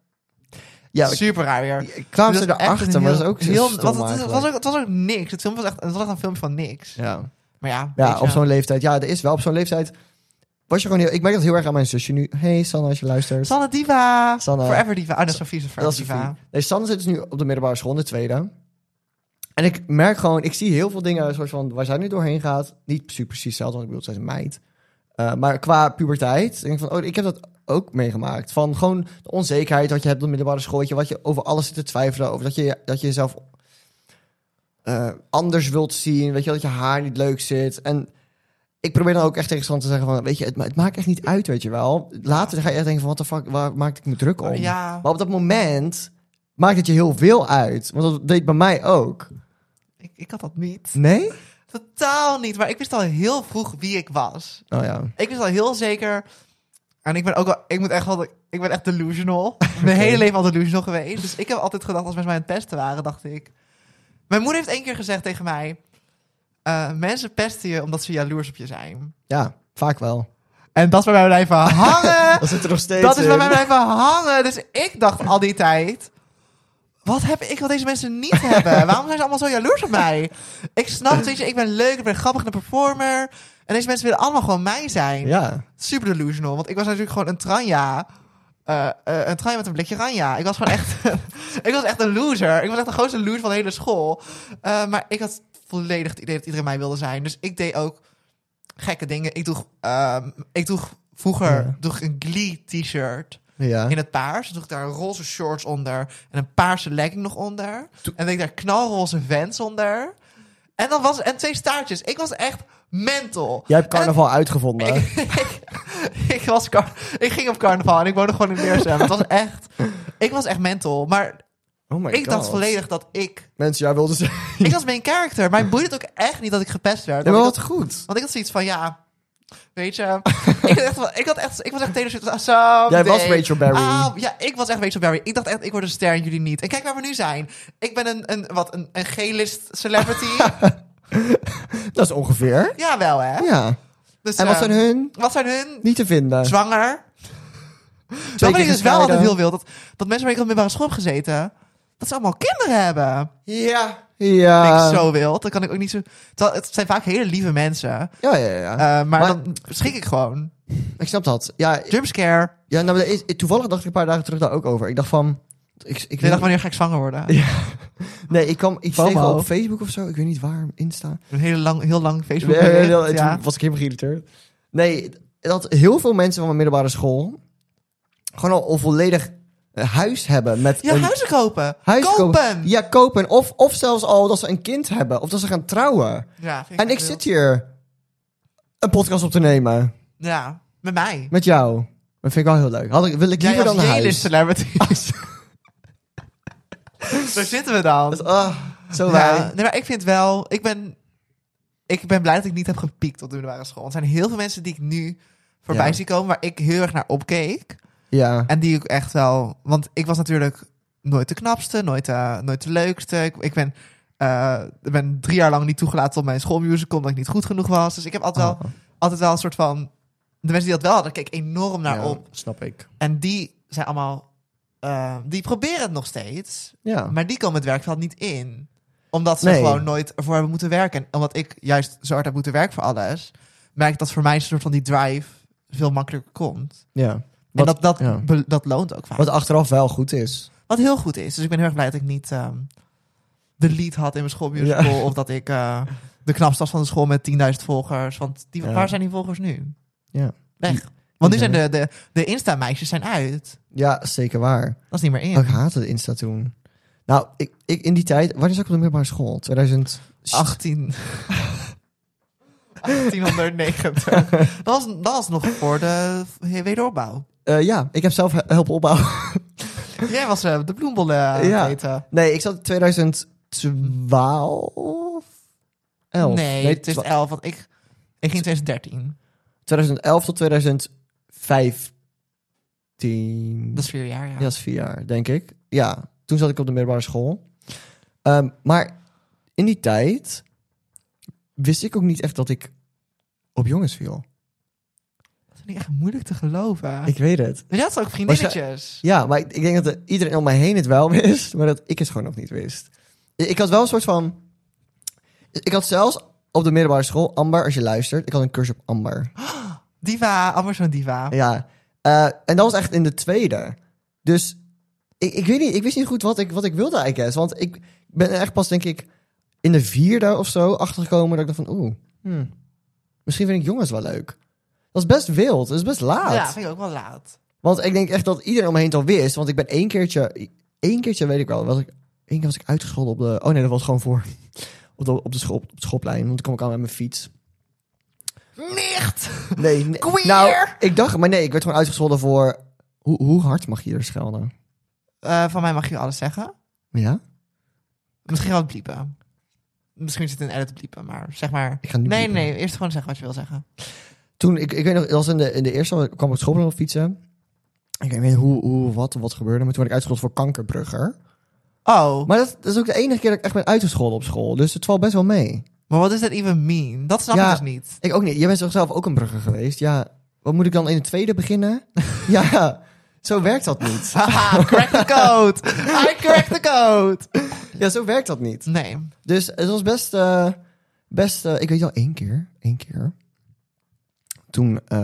Ja, ik- Super raar weer. ik kwam Dus ze echt een erachter, maar dat is heel- ook zo heel- stom want het, het eigenlijk. was ook, het was ook niks. Het, film was echt, het was echt een filmpje van niks. Ja, Maar ja, weet ja je. op zo'n leeftijd. Ja, er is wel op zo'n leeftijd. Was je gewoon heel, ik merk dat heel erg aan mijn zusje nu. Hey Sanne, als je luistert. Sanne Diva. Sanne. Forever Diva. Oh, dat is Sophie. is een dat Forever is Diva. Sophie. Nee, Sanne zit dus nu op de middelbare school, in de tweede. En ik merk gewoon, ik zie heel veel dingen soort van waar zij nu doorheen gaat. Niet super precies hetzelfde, want ik bedoel, zij is een meid. Eh, maar qua puberteit, denk ik van, oh, ik heb dat ook meegemaakt. Van gewoon de onzekerheid wat je hebt op de middelbare school. weet je, Wat je over alles zit te twijfelen. Over dat je, dat je jezelf eh, anders wilt zien. Weet je, wel, dat je haar niet leuk zit. En ik probeer dan ook echt tegen Sanne te zeggen van, weet je, het, ma- het maakt echt niet uit, weet je wel. Later ga je echt denken van, wat de fuck, waar maak ik me druk om? Ja. Maar op dat moment maakt het je heel veel uit. Want dat deed bij mij ook. Ik, ik had dat niet. Nee? Totaal niet. Maar ik wist al heel vroeg wie ik was. Oh ja. Ik wist al heel zeker. En ik ben ook wel. Ik moet echt wel. de- Ik ben echt delusional. Mijn hele leven al delusional geweest. Dus ik heb altijd gedacht, als mensen mij aan het pesten waren, dacht ik. Mijn moeder heeft één keer gezegd tegen mij: eh, Mensen pesten je omdat ze jaloers op je zijn. Ja, vaak wel. En dat is bij mij blijven hangen. Dat zit er nog steeds dat is bij in. mij blijven hangen. Dus ik dacht al die tijd. Wat heb ik wat deze mensen niet hebben? Waarom zijn ze allemaal zo jaloers op mij? Ik snap, weet je, ik ben leuk, ik ben grappig, een performer. En deze mensen willen allemaal gewoon mij zijn Ja. super delusional. Want ik was natuurlijk gewoon een tranja. Eh, eh, een tranja met een blikje ranja. Ik was gewoon echt... ik was echt een loser. Ik was echt de grootste loser van de hele school. Eh, maar ik had volledig het idee dat iedereen mij wilde zijn. Dus ik deed ook gekke dingen. Ik droeg, ehm, ik droeg vroeger Ja. droeg ik een Glee-t-shirt Ja. in het paars. Toen droeg ik daar roze shorts onder en een paarse legging nog onder. Toen- En deed ik daar knalroze vans onder. En dan was en twee staartjes. Ik was echt mental. Jij hebt En dan- carnaval uitgevonden. ik, ik, ik was car- ik ging op carnaval en ik woonde gewoon in Leersum. Het was echt... Ik was echt mental. Maar oh my ik god. dacht volledig dat ik... Mensen, jij wilde zeggen. Ik was mijn karakter. Mij boeide het ook echt niet dat ik gepest werd. Ja, maar Want wat ik had- goed. Want ik had zoiets van, ja... Weet je... ik, had echt, wel- ik, had echt, ik was echt Taylor Swift. Ah, someday. Jij was Rachel Berry. Ah, ja, ik was echt Rachel Berry. Ik dacht echt, ik word een ster en jullie niet. En kijk waar we nu zijn. Ik ben een, een wat, een, een G-list celebrity. Dat is ongeveer. Jawel, hè? Ja. Dus, En wat eh, zijn hun? Wat zijn hun? Niet te vinden. Zwanger. Twee Dat vind keer ik dus wel altijd gescheiden. heel wild. Dat, dat mensen waar ik op middelbare school heb gezeten, dat ze allemaal kinderen hebben. Ja. Dat Ja. vind ik zo wild. Dat kan ik ook niet zo... Terwijl, het zijn vaak hele lieve mensen. Ja, ja, ja. Eh, maar, Maar- dan schrik ik gewoon. ik snap dat. Ja, Jumpscare. ja nou, maar de- toevallig dacht ik een paar dagen terug daar ook over. Ik dacht van... Ik, ik, Ik dacht, weet- wanneer ga ik zwanger worden? nee, ik kwam iets FOMO. tegen op Facebook of zo. Ik weet niet waar. Insta. Een hele lang, heel lang Facebook. Nee, nee, nee, ja. Toen was ik helemaal geïrriteerd. Nee, dat heel veel mensen van mijn middelbare school... gewoon al een volledig huis hebben met Ja, een huizen kopen. huis kopen. kopen. Ja, kopen. Of, of zelfs al dat ze een kind hebben. Of dat ze gaan trouwen. Ja, vind En ik echt zit wild. hier een podcast op te nemen. Ja, met mij. Met jou. Dat vind ik wel heel leuk. Had ik, wil ik liever Jij dan als een hele huis. celebrity. Daar zitten we dan. Dat is- ah, zo Ja, wij. nee, maar ik vind wel, ik ben, ik ben blij dat ik niet heb gepiekt op de middelbare school. Want er zijn heel veel mensen die ik nu voorbij Ja. zie komen, waar ik heel erg naar opkeek. Ja. En die ik echt wel, want ik was natuurlijk nooit de knapste, nooit de, nooit de leukste. Ik, ik ben, eh, ik ben drie jaar lang niet toegelaten op mijn schoolmusical, omdat ik niet goed genoeg was. Dus ik heb altijd, wel, Oh, altijd wel een soort van, de mensen die dat wel hadden, keek enorm naar ja, op. Snap ik. En die zijn allemaal, eh, die proberen het nog steeds. Ja. Maar die komen het werkveld niet in. Omdat ze Oh. Nee. gewoon nooit ervoor hebben moeten werken. En omdat ik juist zo hard heb moeten werken voor alles, merk ik dat voor mij een soort van die drive veel makkelijker komt. ja. en Wat, dat, dat, ja. be- dat loont ook vaak. Wat, wat achteraf wel goed is. heel goed is. Dus ik ben heel erg blij dat ik niet ehm, de lead had in mijn schoolmusical. Of dat ik eh, de knapste was van de school met 10.000 volgers. Want die, Ja. waar zijn die volgers nu? Ja. Weg. Want nu zijn de, Internet. de, de Insta-meisjes zijn uit. Ja, zeker waar. Dat is niet meer in. Oh, ik haatte de Insta toen. Nou, ik, ik in die tijd... Wanneer zat ik op de middelbare school? 2000... 18. 1890. dat, was, dat was nog voor de wederopbouw. Eh, ja, ik heb zelf he- helpen opbouwen. Jij was eh, de bloembollen aan het Ja. eten. Nee, ik zat in 2012? 11? Nee, het is twa- 11, want ik, ik ging in 2013. 2011 tot 2015. Dat is vier jaar, ja. Ja, dat is vier jaar, denk ik. Ja, toen zat ik op de middelbare school. Ehm, maar in die tijd wist ik ook niet echt dat ik op jongens viel. Dat is niet echt moeilijk te geloven. Ik weet het. Maar dat is ook vriendinnetjes. Ja, maar ik, ik denk dat eh, iedereen om mij heen het wel wist, maar dat ik het gewoon nog niet wist. I- Ik had wel een soort van... Ik had zelfs op de middelbare school, Amber, als je luistert, ik had een cursus op Amber. Diva, anders zo'n diva. Ja, eh, en dat was echt in de tweede. Dus ik, ik weet niet, ik wist niet goed wat ik, wat ik wilde, I guess. Want ik ben er echt pas, denk ik, in de vierde of zo achtergekomen dat ik dacht van, oeh, hmm, misschien vind ik jongens wel leuk. Dat is best wild, dat is best laat. Ja, vind ik ook wel laat. Want ik denk echt dat iedereen om me heen het al wist. Want ik ben één keertje, één keertje weet ik wel, was ik, één keer was ik uitgescholden op de, oh nee, dat was gewoon voor, op de, op de, school, op het schoolplein. Want toen kwam ik aan met mijn fiets. Nicht! Nee, nee. Queer! Nou, ik dacht, maar nee, ik werd gewoon uitgescholden voor, hoe, hoe hard mag je er schelden? Eh, van mij mag je alles zeggen. Ja? Misschien wel het bliepen. Misschien zit het in edit te bliepen, maar zeg maar... Ik ga nu Nee, bliepen. nee, eerst gewoon zeggen wat je wil zeggen. Toen, ik, ik weet nog, dat was in de, in de eerste, ik kwam op school nog fietsen. Ik weet niet hoe, hoe, wat, wat gebeurde. Maar toen werd ik uitgescholden voor kankerbrugger. Oh, maar, Maar dat, dat is ook de enige keer dat ik echt ben uitgescholden op school. Dus het valt best wel mee. wat is dat even mean? Dat snap Ja. ik dus niet. Ik ook niet. Jij bent toch zelf ook een brugger geweest? Ja. Wat moet ik dan in het tweede beginnen? ja. Zo werkt dat niet. Haha, crack the code! I crack the code! Ja, zo werkt dat niet. Nee. Dus het was best, eh, best eh, ik weet wel één keer, één keer. Toen, eh,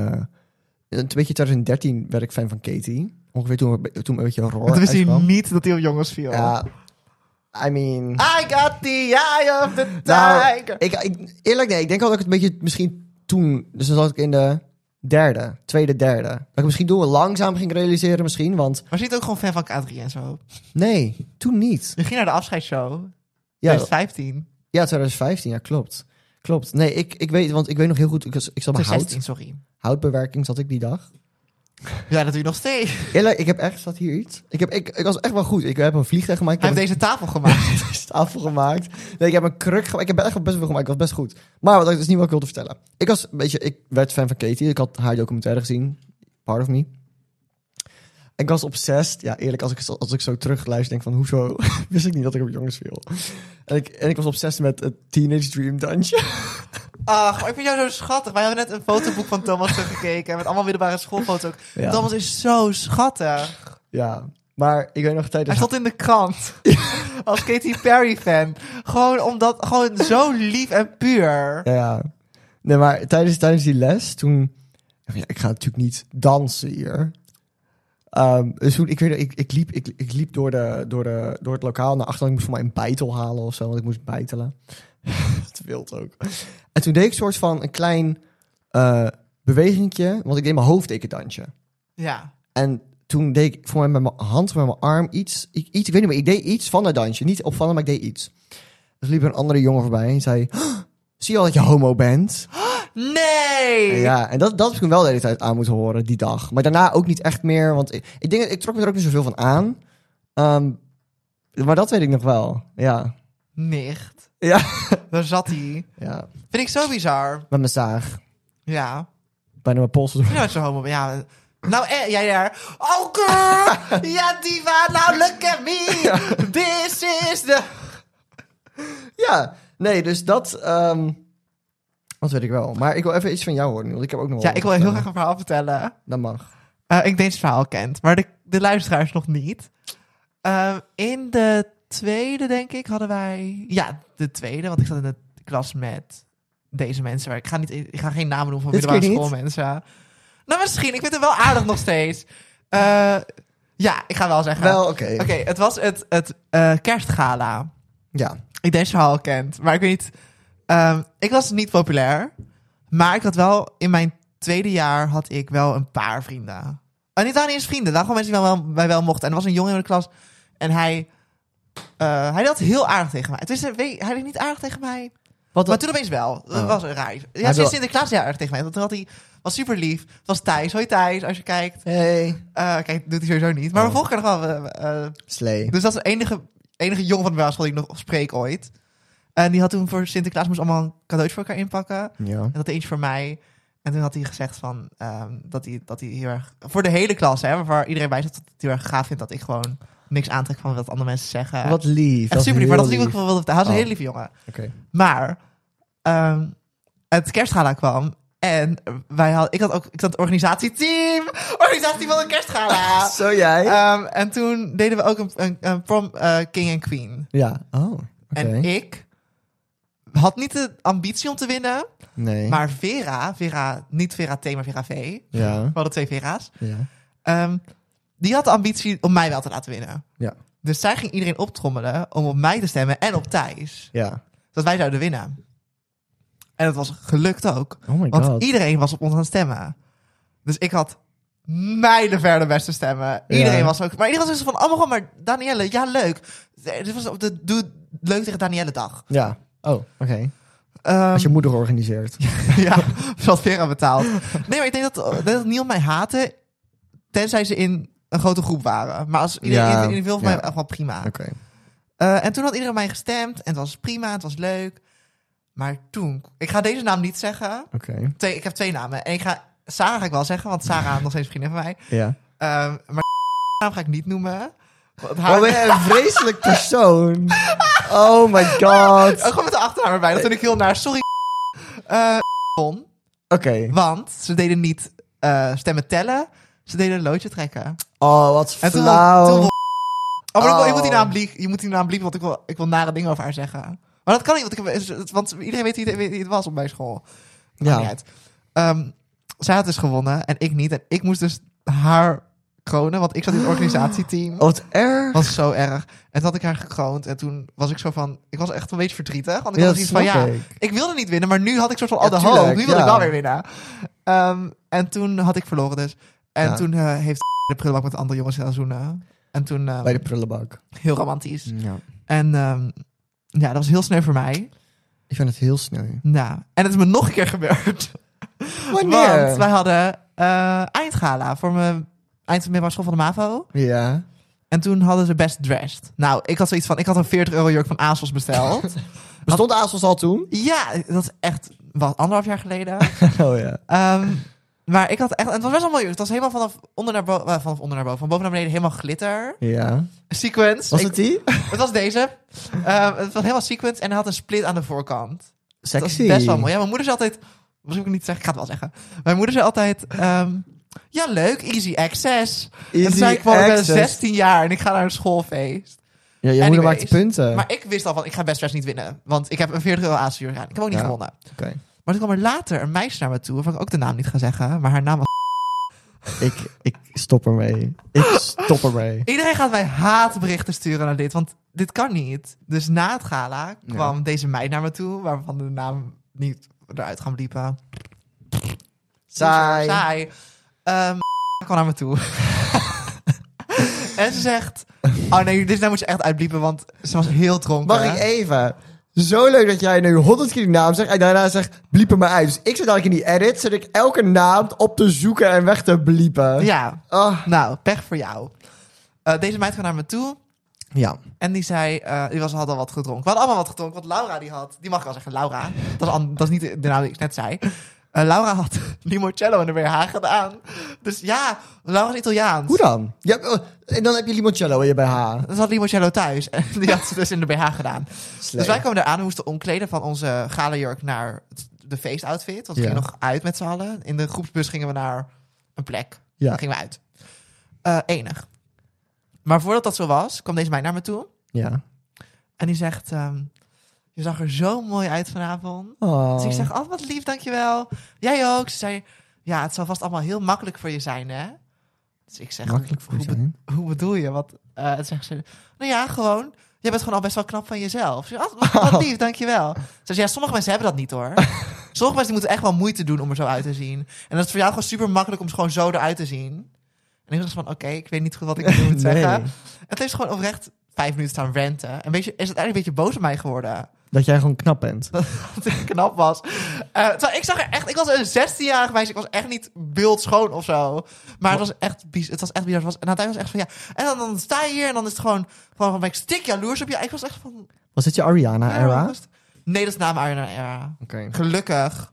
een beetje 2013 werd ik fan van Katie. Ongeveer toen, toen een beetje roar Want wist hij uitkwam. niet Ah, dat hij op jongens viel. Ja, I mean... I got the eye of the Nou, tiger. ik, ik, eerlijk, nee. Ik denk wel dat ik het een beetje misschien toen... Dus dan zat ik in de derde, tweede, derde. Dat ik misschien toen wel langzaam ging realiseren misschien, want... Maar ziet ook gewoon fan van K3 en zo. Nee, toen niet. Je ging naar de afscheidsshow. Ja, 2015. ja 2015, ja, klopt. Klopt. Nee, ik, ik weet, want ik weet nog heel goed... Ik, was- ik zat bij hout. 2016, sorry. Houtbewerking zat ik die dag. Ja, dat doe je nog steeds. Hij Eerlijk, ik heb echt... Zat hier iets? Ik, heb, ik, ik was echt wel goed. Ik heb een vliegtuig gemaakt. Ik heb heeft een deze tafel gemaakt. tafel gemaakt. Nee, ik heb een kruk gemaakt. Ik heb echt best wel veel gemaakt. Ik was best goed. Maar wat, dat is niet wat ik wilde vertellen. Ik was een beetje... Ik werd fan van Katie. Ik had haar documentaire gezien. Part of me. En ik was obsessed. Ja, eerlijk, als ik, zo- als ik zo terugluister, denk ik van... Hoezo wist ik niet dat ik op jongens viel? En ik, en ik was obsessed met het Teenage Dream Dungeon. Ach, maar ik vind jou zo schattig. Wij hebben net een fotoboek van Thomas teruggekeken. Met allemaal middelbare schoolfoto's ook. Ja. Thomas is zo schattig. Ja, maar ik weet nog Hij tijdens... stond in de krant. Als Katy Perry fan. Gewoon omdat, gewoon zo lief en puur. Ja, ja. Nee, maar tijdens, tijdens die les, toen... Ja, ik ga natuurlijk niet dansen hier. Ehm, dus toen, ik, weet, nog, ik, ik liep, ik, ik liep door, de, door, de, door het lokaal naar achter. Ik moest voor mij een beitel halen of zo, want ik moest beitelen. Het wild ook. En toen deed ik een soort van een klein eh bewegingje, want ik deed mijn hoofd deed ik een dansje. Ja. En toen deed ik voor mij met mijn hand, met mijn arm iets. Ik, iets, ik weet niet meer, ik deed iets van dat dansje. Niet opvallend, maar ik deed iets. Er liep een andere jongen voorbij en zei... "Oh, Zie je al dat je homo bent? Nee! Ja, en dat, dat heb ik hem wel de hele tijd aan moeten horen, die dag. Maar daarna ook niet echt meer, want ik, ik denk dat ik trok me er ook niet zoveel van aan. Ehm, maar dat weet ik nog wel, ja. Nicht. Ja. Daar zat hij. ja. Vind ik zo bizar. Met mijn zaag, Ja. bijna mijn pols. Ja, dat is een homo. Ja. Nou, eh, jij daar. Oh, girl! ja, diva, now look at me! This is the... Ja, nee, dus dat... ehm, dat weet ik wel. Maar ik wil even iets van jou horen, want ik heb ook nog wel Ja, ik wil wat heel te graag vertellen. een verhaal vertellen. Dat mag. Eh, ik denk dat je het verhaal kent, maar de, de luisteraars nog niet. Ehm, in de tweede, denk ik, hadden wij... Ja, de tweede, want ik zat in de klas met deze mensen. Maar ik ga, niet, ik ga geen namen noemen van Dit middelbare keer niet? schoolmensen. Nou, misschien. Ik vind het wel aardig nog steeds. Eh, ja, ik ga wel zeggen. Wel, oké. Oké, het was het, het eh, kerstgala. Ja. ik deze verhaal kent. Maar ik weet niet. ehm, ik was niet populair. Maar ik had wel in mijn tweede jaar had ik wel een paar vrienden. En niet alleen eens vrienden. Daar gewoon mensen die mij wel, mij wel mochten. En er was een jongen in de klas. En hij. eh, hij deed heel aardig tegen mij. Het is, hij deed niet aardig tegen mij. Wat Maar toen opeens wel. Dat Oh. was raar. Ja, wil- sinds Sinterklaas heel aardig tegen mij. Want toen had hij. Was super lief. Het was Thijs. Hoi Thijs, als je kijkt. Hey. Eh, kijk, doet hij sowieso niet. Maar Oh. we volgen nog wel. eh, eh, Slee. dus dat is de enige, enige jongen van de basisschool die ik nog spreek ooit. En die had toen voor Sinterklaas moest allemaal een cadeautje voor elkaar inpakken. En Ja. dat eentje voor mij. En toen had hij gezegd van, ehm, dat, hij, dat hij heel erg... Voor de hele klas, hè, waar iedereen bij zat, dat hij heel erg gaaf vindt... dat ik gewoon niks aantrek van wat andere mensen zeggen. Wat lief. Echt super lief, maar dat is niet wat ik Oké. wel wilde vertellen. Hij was een Oh. hele lieve jongen. Maar ehm, het kerstgala kwam en wij had, ik had ook ik had het organisatieteam. Organisatie van de kerstgala. Zo jij? Ehm, en toen deden we ook een, een, een prom eh, king en queen. ja. Oh, oké. En ik had niet de ambitie om te winnen. Nee. Maar Vera, Vera niet Vera T, maar Vera V. Ja. We hadden twee Vera's. Ja. Ehm, die had de ambitie om mij wel te laten winnen. Ja. Dus zij ging iedereen optrommelen om op mij te stemmen en op Thijs. Ja. Dat wij zouden winnen. En dat was gelukt ook. Oh my Want god. iedereen was op ons aan het stemmen. Dus ik had mijlenver de beste stemmen. Iedereen Ja. was ook... Maar iedereen was dus van, allemaal gewoon maar Danielle, ja leuk. Eh, Dit was op de Doe Leuk tegen Danielle dag. Ja. Oh, oké. Ehm, Als je moeder organiseert. ja, ze had Vera betaald. Nee, maar ik denk dat, dat het niemand mij haatte, tenzij ze in een grote groep waren. Maar als iedereen Ja, in veel van ja. mij, wel prima. Oké. Ehm, Eh, en toen had iedereen mij gestemd. En het was prima, het was leuk. Maar toen... Ik ga deze naam niet zeggen. Oké. Twee, ik heb twee namen. En ik ga... Sarah ga ik wel zeggen, want Sarah is nog steeds vriendin van mij. Ja. Ehm, maar naam ga ik niet noemen. Want haar... Oh, ben jij een vreselijk persoon? Oh my god. Ook Oké. gewoon met de achternaam erbij. Dat vind ik heel naar. Sorry, eh kon. Want ze deden niet eh, stemmen tellen. Ze deden een loodje trekken. Oh, wat En toen, flauw. toen- Oh, maar ik wil- ik moet die Oh. naam blie- je moet die naam bliepen, want ik wil, ik wil nare dingen over haar zeggen. Maar dat kan niet, want, ik, heb- want iedereen weet wie, wie het was op mijn school. Ja. Ja. Niet uit. Ehm, zij had dus gewonnen en ik niet. En ik moest dus haar kronen, want ik zat in het organisatieteam. Oh, wat erg. was zo erg. En toen had ik haar gekroond. En toen was ik zo van... Ik was echt een beetje verdrietig. Want ik Ja, had dat zoiets van... snap Ja, ik. ik. wilde niet winnen. Maar nu had ik soort van al Ja, de tuurlijk, hoop. Nu wil ja. ik wel weer winnen. Ehm, en toen had ik verloren dus. En Ja. toen eh, heeft de prullenbak met andere jongens gaan zoenen. En toen... eh, Bij de Mm. prullenbak. heel romantisch. Ja. En ehm, ja, dat was heel sneu voor mij. Ik vind het heel sneu. Nou, en het is me nog een keer gebeurd. Want wij hadden eh, eindgala voor mijn eindmiddelbare school van de MAVO. Ja. En toen hadden ze best dressed. Nou, ik had zoiets van, ik had een 40 euro jurk van ASOS besteld. Bestond ASOS al toen? ja, dat is echt wat anderhalf jaar geleden. Oh ja. Ehm, maar ik had echt, en het was best wel mooi. jurk. Het was helemaal vanaf onder naar boven, vanaf onder naar boven, van boven naar beneden helemaal glitter. Ja. Sequence. Was Ik- het die? het was deze. Ehm, het was helemaal sequence en hij had een split aan de voorkant. Dat is Sexy. best wel mooi. Ja, mijn moeder zei altijd... Misschien moet ik het niet zeggen, ik ga het wel zeggen. Mijn moeder zei altijd... ehm, ja, leuk, easy access. en toen Easy zei ik van, ik ben access. 16 jaar en ik ga naar een schoolfeest. Ja, je moeder Anyways. maakt punten. Maar ik wist al van, ik ga best best niet winnen. Want ik heb een 40 euro azië aan. Ik heb ook niet Ja. gewonnen. Oké. Maar toen kwam er later een meisje naar me toe... waarvan ik ook de naam niet ga zeggen, maar haar naam was... Ik, ik stop ermee. Ik stop ermee. Iedereen gaat mij haatberichten sturen naar dit, want dit kan niet. Dus na het gala kwam deze meid naar me toe... waarvan de naam niet eruit gaan bliepen. Dus, eh, Saai. Saai. Ehm, kwam naar me toe. en ze zegt... Oh nee, dit nou moet je echt uitbliepen, want ze was heel dronken. Mag ik even? Zo leuk dat jij nu honderd keer die naam zegt en daarna zegt bliepen maar uit. Dus ik zit eigenlijk in die edit, zit ik elke naam op te zoeken en weg te bliepen. Ja, Ah. nou, pech voor jou. Eh, deze meid kwam naar me toe ja. en die zei... eh, die was, had al wat gedronken. We hadden allemaal wat gedronken, want Laura die had... Die mag ik wel zeggen, Laura. Dat is, an- dat is niet de de naam die ik net zei. Eh, Laura had limoncello in de BH gedaan. Dus ja, Laura is Italiaans. Hoe dan? Ja, oh, en dan heb je limoncello in je bij haar. Ze had limoncello thuis en die had ze dus in de BH gedaan. Slecht. Dus wij kwamen eraan en moesten omkleden van onze galajurk naar het- de feestoutfit. Want we Ja. gingen nog uit met z'n allen. In de groepsbus gingen we naar een plek. Ja. Dan gingen we uit. Eh, enig. Maar voordat dat zo was, kwam deze meid naar me toe. Ja. En die zegt, ehm, je zag er zo mooi uit vanavond. Oh. Dus ik zeg, oh wat lief, dankjewel. Jij ook. Ze zei, ja het zal vast allemaal heel makkelijk voor je zijn hè. Dus ik zeg, Makkelijk voor je hoe, be- zijn. hoe bedoel je? Want eh het zegt ze, nou ja, gewoon, jij bent gewoon al best wel knap van jezelf. Ze zegt, oh, wat lief, dankjewel. Ze zegt, ja, sommige mensen hebben dat niet hoor. Sommige mensen die moeten echt wel moeite doen om er zo uit te zien. En dat is voor jou gewoon super makkelijk om gewoon zo eruit te zien. En ik was van, oké, ik weet niet goed wat ik moet Nee. zeggen. En toen heeft ze gewoon oprecht vijf minuten staan ranten. En weet je, is uiteindelijk een beetje boos op mij geworden Dat jij gewoon knap bent. dat ik knap was. Eh, terwijl ik zag er echt, ik was een 16-jarige meisje, ik was echt niet beeldschoon of zo. Maar het was echt bizar. Het was echt bizar. Het was, en uiteindelijk was het echt van ja. En dan, dan sta je hier en dan is het gewoon van, van ben ik stik jaloers op je. Ik was echt van. Was dit je Ariana-era? ja, Oké. was- Nee, dat is na mijn Ariana Era. Gelukkig.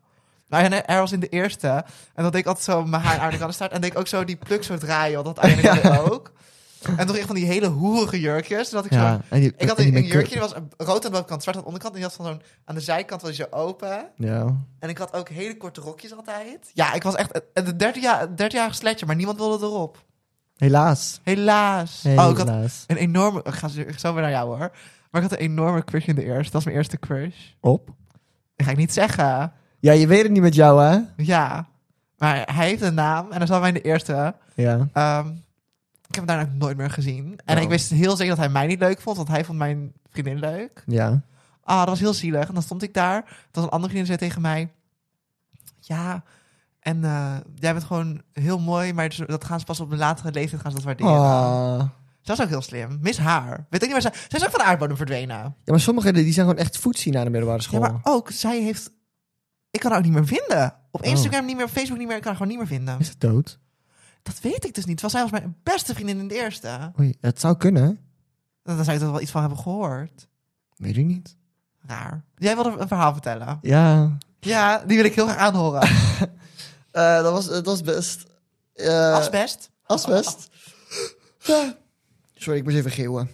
Ariana Era was in de eerste. En dan deed ik altijd zo mijn haar aan Ariana Grande staart. En deed ik ook zo die pluk zo draaien, want dat Ariana Grande ook. En toch echt van die hele hoerige jurkjes. Dat ik zo Ja. En die, ik had een, en die een make-up. jurkje, die was rood aan de bovenkant, zwart aan de onderkant. En die had van zo'n, aan de zijkant was je open. Ja. En ik had ook hele korte rokjes altijd. Ja, ik was echt eh, een 30-jarig sletje, maar niemand wilde erop. Helaas. Helaas. Oh, ik had Helaas. een enorme... Ik ga zo- ik zo weer naar jou hoor. Maar ik had een enorme crush in de eerste. Dat was mijn eerste crush. Op. Dat ga ik niet zeggen. Ja, je weet het niet met jou, hè? Ja. Maar hij heeft een naam en dat zat mij in de eerste. Ja. Ehm, ik heb hem daarna ook nooit meer gezien. En Oh. ik wist heel zeker dat hij mij niet leuk vond, want hij vond mijn vriendin leuk. Ja. Ah, dat was heel zielig. En dan stond ik daar. Dat was een andere vriendin zei tegen mij... Ja, en eh, jij bent gewoon heel mooi... maar ze- dat gaan ze pas op een latere leeftijd gaan ze dat waarderen. Ah. Ze was ook heel slim. Mis haar. Weet ik niet waar ze... Zij is ook van de aardbodem verdwenen. Ja, maar sommigen die zijn gewoon echt voetsie naar de middelbare school. Ja, maar ook, zij heeft... Ik kan haar ook niet meer vinden. Op Oh. Instagram niet meer, op Facebook niet meer. Ik kan haar gewoon niet meer vinden. Is het dood? dus Dat weet ik dus niet. Want zij was mijn beste vriendin in de eerste. Oei, het zou kunnen. Dat Dan zou je toch wel iets van hebben gehoord. Weet ik niet. Raar. Jij wilde een verhaal vertellen. Ja. Ja, die wil ik heel graag aanhoren. Eh, dat, was, dat was best. Eh, Asbest. Asbest. Ja. Sorry, ik moest even geeuwen.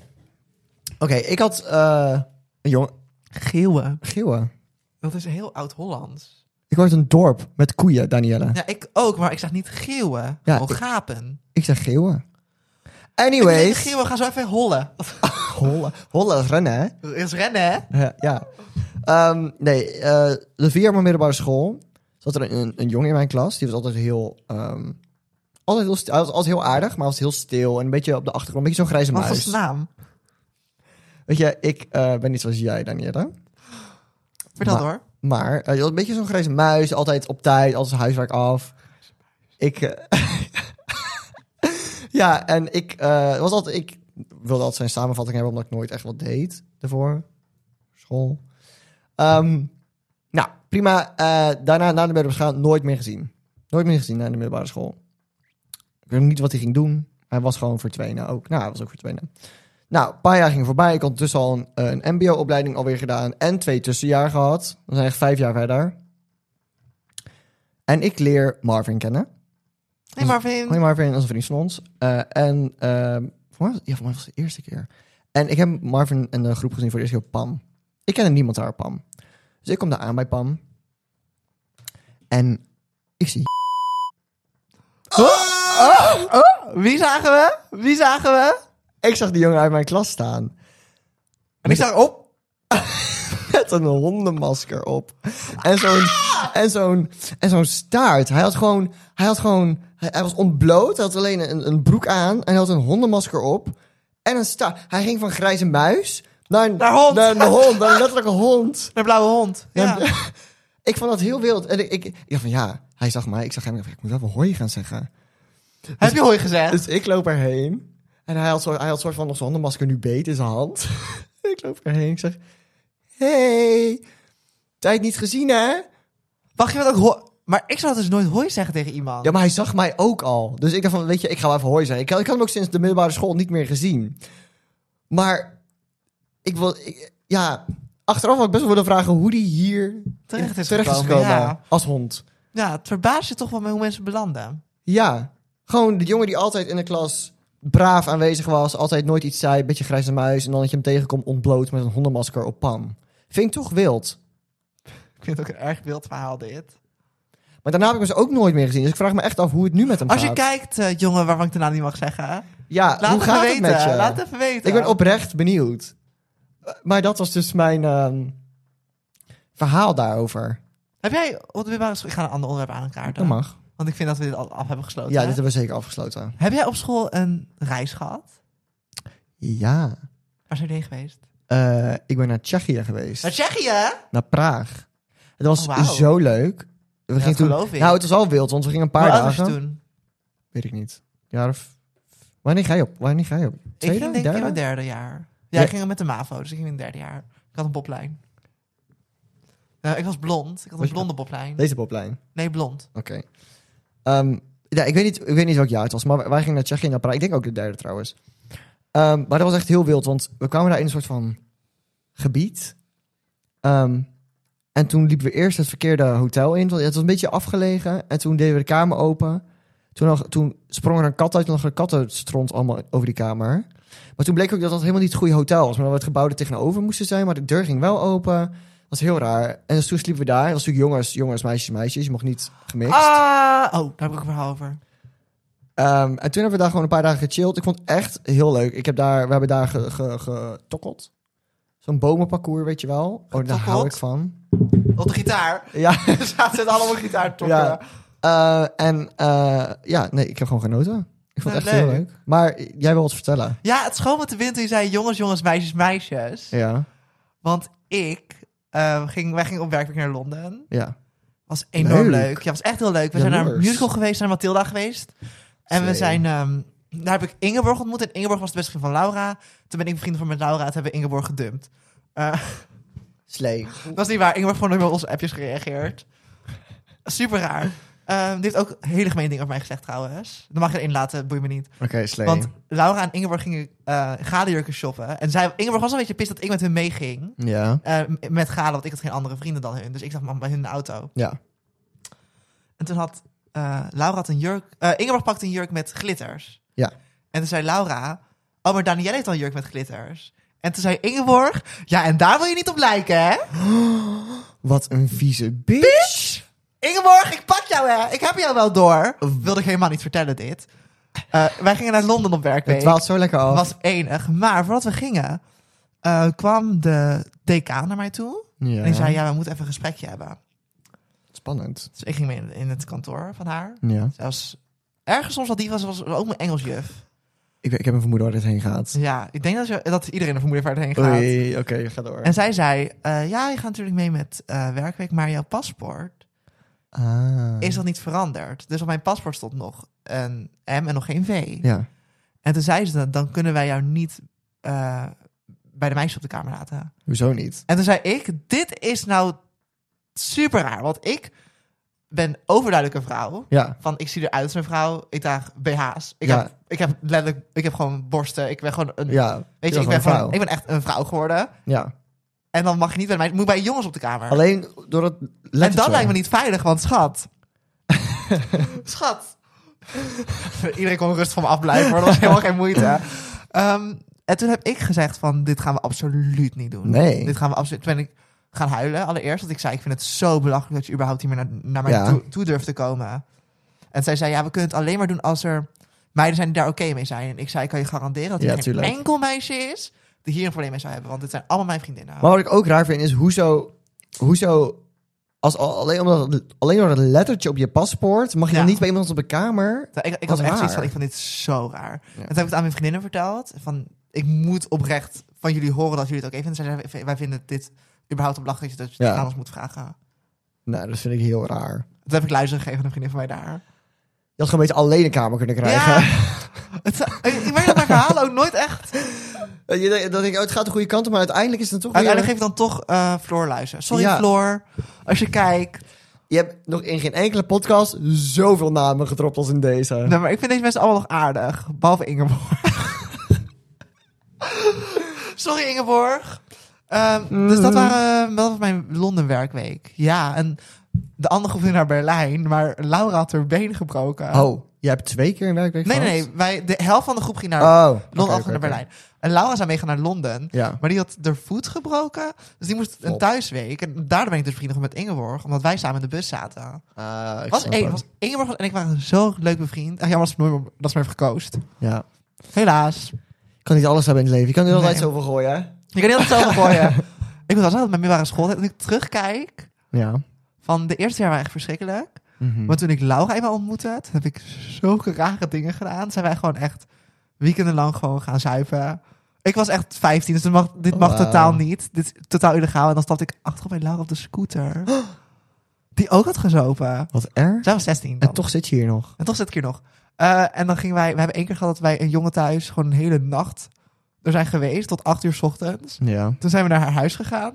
Oké, ik had eh, een jongen... Geeuwen. Geeuwen? Dat is heel oud-Hollands. Ik hoorde een dorp met koeien, Danielle. Ja, ik ook, maar ik zeg niet geeuwen. Ja, Gewoon ik- gapen. Ik zeg geeuwen. Nee, Anyways. geeuwen, ga zo even hollen. Hollen. Hollen is rennen, hè? Dat is rennen, hè? Ja, ja. Ehm, nee, eh, de vier jaar mijn middelbare school zat er een, een jongen in mijn klas. Die was altijd heel... ehm, altijd heel, st- hij was altijd heel aardig, maar was heel stil. En een beetje op de achtergrond. Een beetje zo'n grijze Wat was muis. zijn naam? Weet je, ik eh, ben niet zoals jij, Danielle. Vertel Maar- door. Maar eh, je had een beetje zo'n grijze muis, altijd op tijd, altijd zijn huiswerk af. Ik. eh, ja, en ik eh, was altijd. Ik wilde altijd zijn samenvatting hebben, omdat ik nooit echt wat deed daarvoor. School. Ehm, nou, prima. Eh, daarna, na de middelbare school, nooit meer gezien. Nooit meer gezien na de middelbare school. Ik weet nog niet wat hij ging doen. Hij was gewoon verdwenen ook. Nou, hij was ook verdwenen. Nou, een paar jaar gingen voorbij. Ik had ondertussen al een, eh, een mbo-opleiding alweer gedaan. En twee tussenjaar gehad. We zijn echt vijf jaar verder. En ik leer Marvin kennen. Nee, Marvin. Hoi Marvin, dat is een vriend van ons. Eh, en ehm voor, mij was, ja, voor mij was het de eerste keer. En ik heb Marvin en de groep gezien voor de eerste keer op Pam. Ik kende niemand daar op Pam. Dus ik kom daar aan bij Pam. En ik zie... Wie zagen we? Wie zagen we? Ik zag die jongen uit mijn klas staan. En ik zag op. Met een hondenmasker op. En zo'n en zo'n en zo'n staart. Hij had gewoon... Hij, had gewoon, hij, hij was ontbloot. Hij had alleen een, een broek aan. En hij had een hondenmasker op. En een staart. Hij ging van grijze muis... Naar, een- Naar hond. Naar een hond. Naar een letterlijke hond. De blauwe hond. Ja. Ja. ik vond dat heel wild. En ik, ik, ik dacht van ja, hij zag mij. Ik zag hem. Ik, dacht, ik moet even hoi gaan zeggen. Heb je hooi gezegd? Dus ik loop erheen. En hij had, soort, hij had soort van nog zijn hondenmasker nu beet in zijn hand. ik loop erheen. Ik zeg, hey, tijd niet gezien hè? Mag je dat ook hooi? Maar ik zou dus nooit hooi zeggen tegen iemand. Ja, maar hij zag mij ook al. Dus ik dacht van, weet je, ik ga wel even hoi zijn. Ik, had- ik had hem ook sinds de middelbare school niet meer gezien. Maar ik wil, ik- ja, achteraf had ik best wel willen vragen hoe die hier Terecht is gekomen, gekomen. ja. Als hond. Ja, het verbaast je toch wel met hoe mensen belanden. Ja, gewoon de jongen die altijd in de klas braaf aanwezig was, altijd nooit iets zei, beetje grijze muis, en dan dat je hem tegenkomt ontbloot met een hondenmasker op Pam. Vind ik toch wild. Ik vind het ook een erg wild verhaal dit. Maar daarna heb ik hem ze ook nooit meer gezien, dus ik vraag me echt af hoe het nu met hem Als je gaat. kijkt, eh, jongen, waarvan ik de naam niet mag zeggen. ja, Laat hoe even gaat weten. het met je? Laat even weten. ik ben oprecht benieuwd. Uh, Maar dat was dus mijn ehm, verhaal daarover. Heb jij op de middelbare school... Ik ga een ander onderwerp aankaarten. Dat mag. Want ik vind dat we dit al af hebben gesloten. Ja, hè? dit hebben we zeker afgesloten. Heb jij op school een reis gehad? Ja. Waar zijn jullie heen geweest? Eh, ik ben naar Tsjechië geweest. Naar Tsjechië? naar Praag. Het was Oh, wauw. zo leuk. We gingen dat toen, geloof ik. Nou, het was al wild, want we gingen een Hoe paar oud was je dagen. toen? Weet ik niet. Jaar of... Wanneer ga je op? Wanneer ga je op? Tweede? ik ging denk ik in derde? mijn derde jaar. Ja, Ja. ik ging met de MAVO, dus ik ging in het derde jaar. Ik had een boblijn. Nou, ik was blond. Ik had Was een je- blonde boblijn. Deze poplijn. Nee, blond. Oké. Ehm, ja, ik, weet niet, ik weet niet welk jaar het was, maar wij- wij gingen naar Tsjechië naar Praag. Ik denk ook de derde trouwens. Ehm, maar dat was echt heel wild, want we kwamen daar in een soort van gebied. Ehm, en toen liepen we eerst het verkeerde hotel in. Want het was een beetje afgelegen. En toen deden we de kamer open. Toen, lag- toen sprong er een kat uit. Toen lag er een kattenstront allemaal over die kamer. Maar toen bleek ook dat dat helemaal niet het goede hotel was. Maar dat het gebouw er tegenover moesten zijn. Maar de deur ging wel open. Dat was heel raar. En dus toen sliepen we daar. Dat was natuurlijk jongens, jongens, meisjes, meisjes. Je mocht niet gemixt. Ah! Oh, daar heb ik ook een verhaal over. Ehm, en toen hebben we daar gewoon een paar dagen gechilled. Ik vond het echt heel leuk. Ik heb daar, we hebben daar ge- ge- getokkeld. Zo'n bomenparcours, weet je wel. Oh, daar hou Getokkeld? ik van. Op de gitaar. Ja. Ze zaten allemaal gitaar toppen. Ja. Eh, en eh, ja, nee, ik heb gewoon genoten. Ik vond het Nou, echt heel leuk. leuk. Maar jij wil wat vertellen. Ja, het schoon met de wind toen je zei jongens, jongens, meisjes, meisjes. Ja, Want ik eh, ging, wij gingen op werkweek naar Londen. ja. Was enorm leuk. Leuk. Ja, was echt heel leuk. We zijn naar een Jaloers. musical geweest, naar Matilda geweest. En we Zee. zijn... ehm, daar heb ik Ingeborg ontmoet. En Ingeborg was de beste vriend van Laura. Toen ben ik vrienden van met Laura. Toen hebben we Ingeborg gedumpt. Eh, Slee. dat is niet waar. Ingeborg heeft gewoon nooit meer op onze appjes gereageerd. Super raar. Ehm, die heeft ook hele gemeen dingen over mij gezegd trouwens. Dat mag je erin laten, boeit me niet. Oké, slee. Want Laura en Ingeborg gingen eh galenjurken shoppen. En zij, Ingeborg was al een beetje pist dat ik met hun meeging. Ja. Eh, m- met galen, want ik had geen andere vrienden dan hun. Dus ik zag maar bij hun in de auto. Ja. En toen had eh, Laura had een jurk... eh, Ingeborg pakte een jurk met glitters. Ja. En toen zei Laura... Oh, maar Danielle heeft al een jurk met glitters. En toen zei Ingeborg... Ja, en daar wil je niet op lijken, hè? Wat een vieze bitch. Ingeborg, ik pak jou, hè? Ik heb jou wel door. Wilde ik helemaal niet vertellen dit. Eh, wij gingen naar Londen op Het werkweek. dwaalt zo lekker af. was enig. Maar voordat we gingen, eh, kwam de decaan naar mij toe. ja. En die zei, ja, we moeten even een gesprekje hebben. Spannend. Dus ik ging mee in, in het kantoor van haar. Ja. Zij was ergens soms wat die was, was ook mijn Engelsjuf. Ik, weet- ik heb een vermoeden waar dit heen gaat. Ja, ik denk dat, je, dat iedereen er vermoeden waar het heen gaat. Oei, oké, ga door. En zij zei, eh, ja, je gaat natuurlijk mee met eh, werkweek, maar jouw paspoort ah. is nog niet veranderd. Dus op mijn paspoort stond nog een M en nog geen V. Ja. En toen zei ze, dan, dan kunnen wij jou niet eh, bij de meisjes op de kamer laten. Hoezo niet? En toen zei ik, dit is nou super raar. Want ik ben overduidelijk een vrouw. Ja. Van, ik zie eruit als een vrouw. Ik draag BH's. Ik, Ja. heb, ik heb letterlijk, ik heb gewoon borsten. Ik ben gewoon een, Ja. weet je, bent ik ben, gewoon een gewoon, ik ben echt een vrouw geworden. ja. En dan mag je niet bij mij, moet bij jongens op de kamer. Alleen door het en dat lijkt me niet veilig, want schat. schat. Iedereen kon rustig van me afblijven, hoor. Dat was helemaal geen moeite. Ehm, en toen heb ik gezegd van, dit gaan we absoluut niet doen. Nee. Dit gaan we absoluut. Toen ben ik gaan huilen allereerst. Want ik zei, ik vind het zo belachelijk dat je überhaupt niet meer naar, naar mij Ja. toe, toe durft te komen. En zij zei, ja, we kunnen het alleen maar doen als er meiden zijn die daar oké mee zijn. En ik zei, ik kan je garanderen dat er Ja, geen tuurlijk. enkel meisje is die hier een probleem mee zou hebben. Want dit zijn allemaal mijn vriendinnen. Maar wat ik ook raar vind is hoezo... Hoezo... Als, al- alleen, omdat, het- alleen door het lettertje op je paspoort mag je Ja. dan niet bij iemand op de kamer. ik ik Wat had echt raar. zoiets van, ik vind dit zo raar. Ja. En toen heb ik het aan mijn vriendinnen verteld. Van, ik moet oprecht van jullie horen dat jullie het ook even vinden. En zij zei, wij vinden dit überhaupt op belachelijk dat je het Ja. aan ons moet vragen. Nou, dat vind ik heel raar. Dat heb ik luister gegeven aan een vriendin van mij daar. Je had gewoon een beetje alleen een kamer kunnen krijgen. Ja. Het, ik merk dat mijn verhalen ook nooit echt. Dat je denkt- dat ik, oh, het gaat de goede kant op, maar uiteindelijk is het dan toch weer... Uiteindelijk geef ik dan toch eh Floor luister. Sorry Ja. Floor, als je kijkt. Je hebt nog in geen enkele podcast zoveel namen gedropt als in deze. Nee, maar ik vind deze mensen allemaal nog aardig. Behalve Ingeborg. Sorry Ingeborg. Ehm, Dus Mm. dat waren eh, wel van mijn Londen werkweek. Ja, en de andere groep ging naar Berlijn. Maar Laura had haar been gebroken. Oh, je hebt twee keer een werkweek nee, nee, gehad? nee. Wij, de helft van de groep ging naar Oh. Londen, oké, andere oké, naar oké. Berlijn. En Laura zou meegaan naar Londen. Ja. Maar die had haar voet gebroken. Dus die moest een Flop. thuisweek. En daardoor ben ik dus vrienden met Ingeborg. Omdat wij samen in de bus zaten. Ah, ik Was, snap één, het. was Ingeborg en ik waren zo leuk bevriend. Ach, jammer dat ze nooit meer- dat ze me heeft gekozen. Ja. Helaas. Je kan niet alles hebben in het leven. Je kan niet altijd Nee. zoveel gooien, hè? Ik kan heel het zo gooien. ik was altijd met middelbare school. En ik terugkijk. Ja. Van de eerste jaar waren echt verschrikkelijk. Mhm. Maar toen ik Laura eenmaal ontmoette, toen heb ik zulke rare dingen gedaan. Zijn wij gewoon echt weekendenlang gewoon gaan zuipen. Ik was echt 15, dus dit mag, dit mag Wauw. totaal niet. Dit is totaal illegaal. En dan stapte ik achterop bij Laura op de scooter. Die ook had gezopen. Wat erg. Zij was 16 dan. En toch zit je hier nog. En toch zit ik hier nog. Eh, en dan gingen wij... We hebben één keer gehad dat wij een jongen thuis gewoon een hele nacht er zijn geweest. Tot 8 uur 's ochtends. Ja. Toen zijn we naar haar huis gegaan.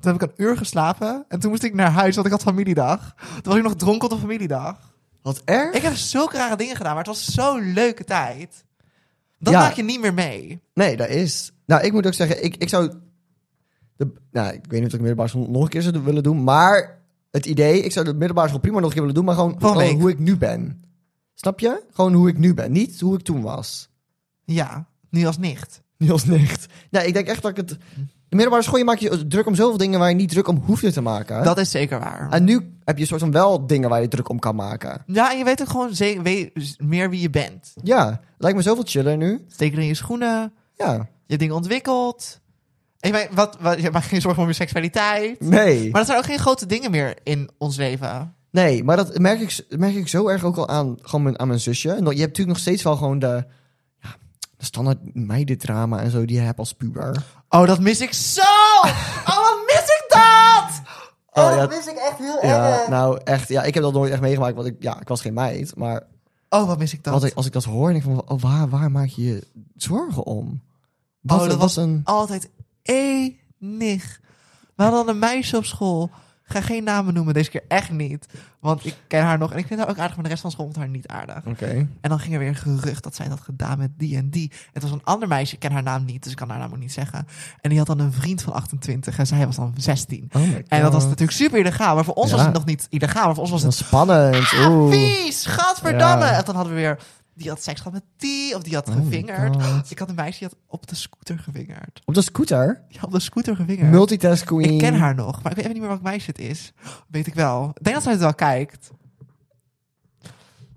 Toen heb ik een uur geslapen. En toen moest ik naar huis, want ik had familiedag. Toen was ik nog dronken op de familiedag. Wat erg? Ik heb zulke rare dingen gedaan, maar het was zo'n leuke tijd. Dat Ja. maak je niet meer mee. Nee, dat is... Nou, ik moet ook zeggen, ik, ik zou... De, nou, ik weet niet of ik middelbare school nog een keer zou willen doen, maar het idee... Ik zou de middelbare school prima nog een keer willen doen, maar gewoon, Van gewoon week. hoe ik nu ben. Snap je? Gewoon hoe ik nu ben. Niet hoe ik toen was. Ja, nu als nicht. Niet als nicht. Nee, ik denk echt dat ik het... De middelbare school, je maakt je druk om zoveel dingen waar je niet druk om hoeft je te maken. hè? Dat is zeker waar. En nu heb je soort van wel dingen waar je druk om kan maken. Ja, en je weet ook gewoon ze- we- meer wie je bent. Ja, lijkt me zoveel chiller nu. Steek er in je schoenen. Ja. Je hebt dingen ontwikkeld. En je, maakt- wat, wat, je maakt geen zorgen om je seksualiteit. Nee. Maar dat zijn ook geen grote dingen meer in ons leven. Nee, maar dat merk ik, merk ik zo erg ook al aan, gewoon mijn, aan mijn zusje. En dat- Je hebt natuurlijk nog steeds wel gewoon de, ja, de standaard meidendrama en zo die je hebt als puber. Oh, dat mis ik zo! Oh, wat mis ik dat! Oh, ja. dat mis ik echt heel Ja, erg. nou echt. Ja, ik heb dat nooit echt meegemaakt, want ik, ja, ik was geen meid. Maar Oh, wat mis ik dat. wat ik, als ik dat hoor, denk ik van, oh, waar, waar maak je je zorgen om? Oh, Wat, dat dat was een... altijd enig. We hadden een meisje op school. ga geen namen noemen, deze keer echt niet. Want ik ken haar nog en ik vind haar ook aardig, maar de rest van school vond haar niet aardig. Oké. En dan ging er weer een gerucht dat zij dat gedaan met die en die. Het was een ander meisje, ik ken haar naam niet, dus ik kan haar naam ook niet zeggen. En die had dan een vriend van 28 en zij was dan 16. Oh my god. En dat was natuurlijk super illegaal, maar voor ons Ja. was het nog niet illegaal, maar voor ons was het spannend. ah, Oeh. vies, gadverdamme. Ja. En dan hadden we weer, die had seks gehad met die, of die had Oh my gevingerd. God. Ik had een meisje die had op de scooter gevingerd. Op de scooter? Ja, op de scooter gevingerd. Multitask queen. Ik ken haar nog, maar ik weet even niet meer welk meisje het is. Weet ik wel. Ik denk dat zij het wel kijkt.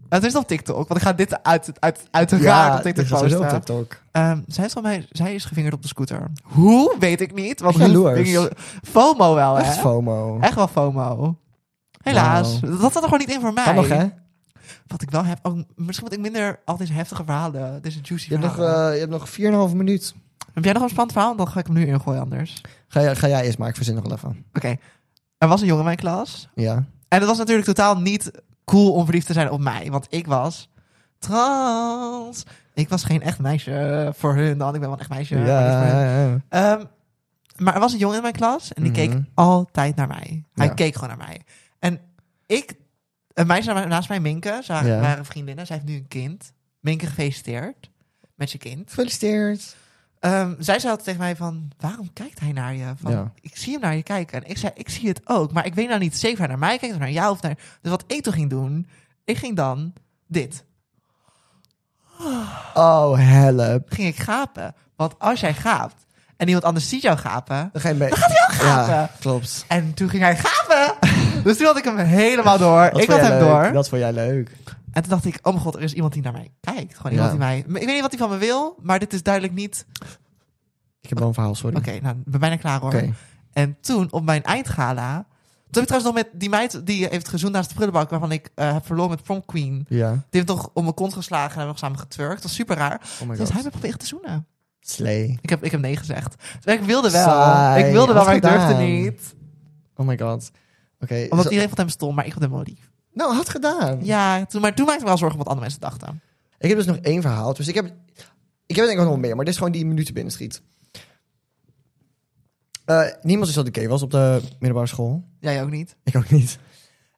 Het is op TikTok, want ik ga dit uit, uit, uiteraard Ja, op dit TikTok is sowieso op posten. TikTok. Ehm, zij, is van mij, zij is gevingerd op de scooter. Hoe? Weet ik niet. Want hoe Jaloers. ving je- FOMO wel, hè? Echt FOMO. Echt wel FOMO. Helaas. Wauw. Dat zat er gewoon niet in voor mij. Kan nog, hè? Wat ik wel heb... Oh, misschien moet ik minder al deze heftige verhalen... Deze juicy Je hebt nog, verhalen. eh, je hebt nog 4,5 minuut. Heb jij nog een spannend verhaal? Dan ga ik hem nu ingooien anders. Ga, jij- ga jij eerst maar, ik verzin nog wel even. Oké. Er was een jongen in mijn klas. Ja. En het was natuurlijk totaal niet cool om verliefd te zijn op mij. Want ik was trans. Ik was geen echt meisje voor hun dan. Ik ben wel een echt meisje. maar niet voor hun. ja. Ehm, maar er was een jongen in mijn klas en die Mhm. keek altijd naar mij. Hij Ja. keek gewoon naar mij. En ik, een meisje na- naast mij, Minke, ze waren, Ja. waren vriendinnen. Zij heeft nu een kind. Minke, gefeliciteerd met je kind. Gefeliciteerd. Ehm, zij zei altijd tegen mij van, waarom kijkt hij naar je? Van, Ja. Ik zie hem naar je kijken. En ik zei, ik zie het ook. Maar ik weet nou niet zeker of hij naar mij kijkt of naar jou. Of naar... Dus wat ik toen ging doen, ik ging dan dit. Oh, help. Ging ik gapen. Want als jij gaapt en iemand anders ziet jou gapen... Dan ga je mee. Dan gaat hij ook Ja, gapen. klopt. En toen ging hij gapen. dus toen had ik hem helemaal door. Dat ik vond had jij hem leuk. door. Dat vond jij leuk. En toen dacht ik, oh mijn god, er is iemand die naar mij kijkt. Gewoon iemand Ja. die mij... Ik weet niet wat hij van me wil, maar dit is duidelijk niet... Ik heb wel een verhaal, sorry. Oké, nou, ik ben bijna klaar hoor. Oké. En toen op mijn eindgala. Toen heb ik trouwens nog met die meid die heeft gezoend naast de prullenbak. waarvan ik eh, heb verloren met Prom Queen. Ja. Die heeft nog om mijn kont geslagen en hebben nog samen getwerkt. Dat was super raar. Oh my Dus hij god. heeft geprobeerd te zoenen. Slay. Ik heb, ik heb nee gezegd. Dus ik wilde wel. Saai. Ik wilde wel, Wat maar ik durfde gedaan. niet. Oh my god. Oké. Omdat zo- iedereen vond hem stom, maar ik vond hem wel lief. Nou, had gedaan. Ja, toen, maar toen maakte ik me wel zorgen om wat andere mensen dachten. Ik heb dus nog één verhaal. Dus ik heb, ik heb denk ik ook nog meer, maar dit is gewoon die minuten binnenschiet. Eh, niemand wist dat ik gay was op de middelbare school. Jij ook niet. Ik ook niet.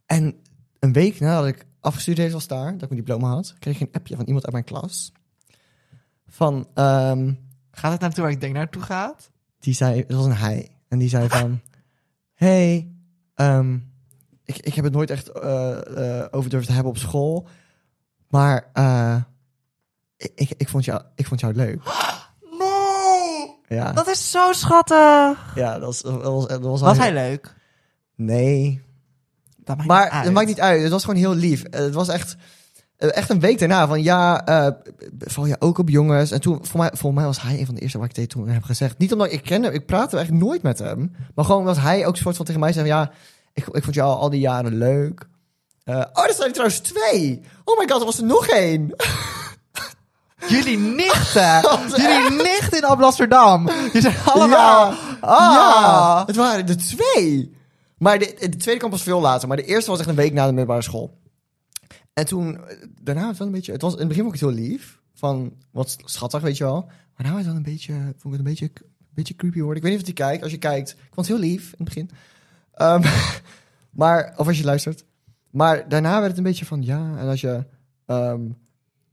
En een week nadat ik afgestudeerd was daar, dat ik mijn diploma had, kreeg ik een appje van iemand uit mijn klas. Van, ehm, Gaat het naartoe waar ik denk naartoe gaat? die zei, het was een hij. En die zei van, hey, ehm, ik, ik heb het nooit echt eh, eh, over durven te hebben op school. Maar eh, ik, ik, ik, vond jou, ik vond jou leuk. Nee! Ja, Dat is zo schattig. ja dat was, dat was, dat was, al Was heel- hij leuk? Nee. Dat maakt Maar niet uit. het maakt niet uit. Het was gewoon heel lief. Eh, Het was echt, eh, echt een week daarna van ja, eh, val je ook op jongens? En toen, voor mij, voor mij was hij een van de eerste waar ik tegen toen heb gezegd. Niet omdat ik ken hem, ik praatte echt nooit met hem. Maar gewoon omdat hij ook soort van tegen mij zei van ja, ik, ik vond jou al die jaren leuk. Eh, oh, dat zijn er trouwens twee. Oh my god, er was er nog één. Jullie nichten! Jullie nichten in Amsterdam! Je zijn allemaal. Ja. Ah. Ja, het waren er twee. Maar de, de tweede kamp was veel later. Maar de eerste was echt een week na de middelbare school. En toen, eh, daarna was het wel een beetje... Het was, in het begin vond ik het heel lief. Van, wat schattig, weet je wel. Maar daarna was het wel een beetje... Vond ik het een beetje, een beetje creepy worden. Ik weet niet of je kijkt. Als je kijkt, ik vond het heel lief in het begin. Ehm, maar, of als je luistert. Maar daarna werd het een beetje van, ja... En als je... ehm,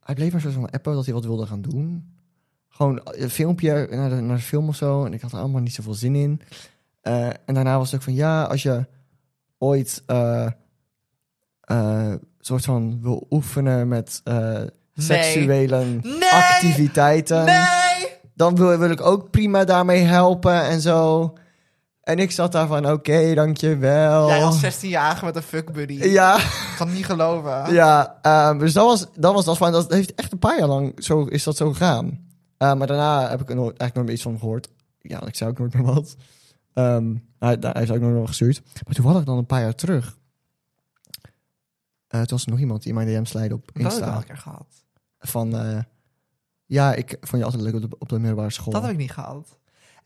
hij bleef maar zo van appen dat hij wat wilde gaan doen gewoon eh, een filmpje naar de, naar de film of zo. En ik had er allemaal niet zoveel zin in. Eh, en daarna was het ook van ja, als je ooit eh eh, soort van wil oefenen met eh, seksuele Nee! activiteiten, Nee! dan wil, wil ik ook prima daarmee helpen en zo. En ik zat daar van oké, dankjewel. Jij als 16-jarige met een fuck buddy. ja, Ik kan het niet geloven. ja. ehm, dus dat was dat was dat van dat heeft echt een paar jaar lang zo is dat zo gegaan. Eh, maar daarna heb ik er nooit, eigenlijk nooit meer iets van gehoord. Ja, want ik zei ook nooit meer wat. Ehm, hij, hij heeft ook nooit meer wat gestuurd. Maar toen had ik dan een paar jaar terug. Eh, toen was er nog iemand die in mijn DM slijde op Dat heb ik wel Insta. een keer gehad. Van, eh, ja, ik vond je altijd leuk op de, op de middelbare school. Dat heb ik niet gehad.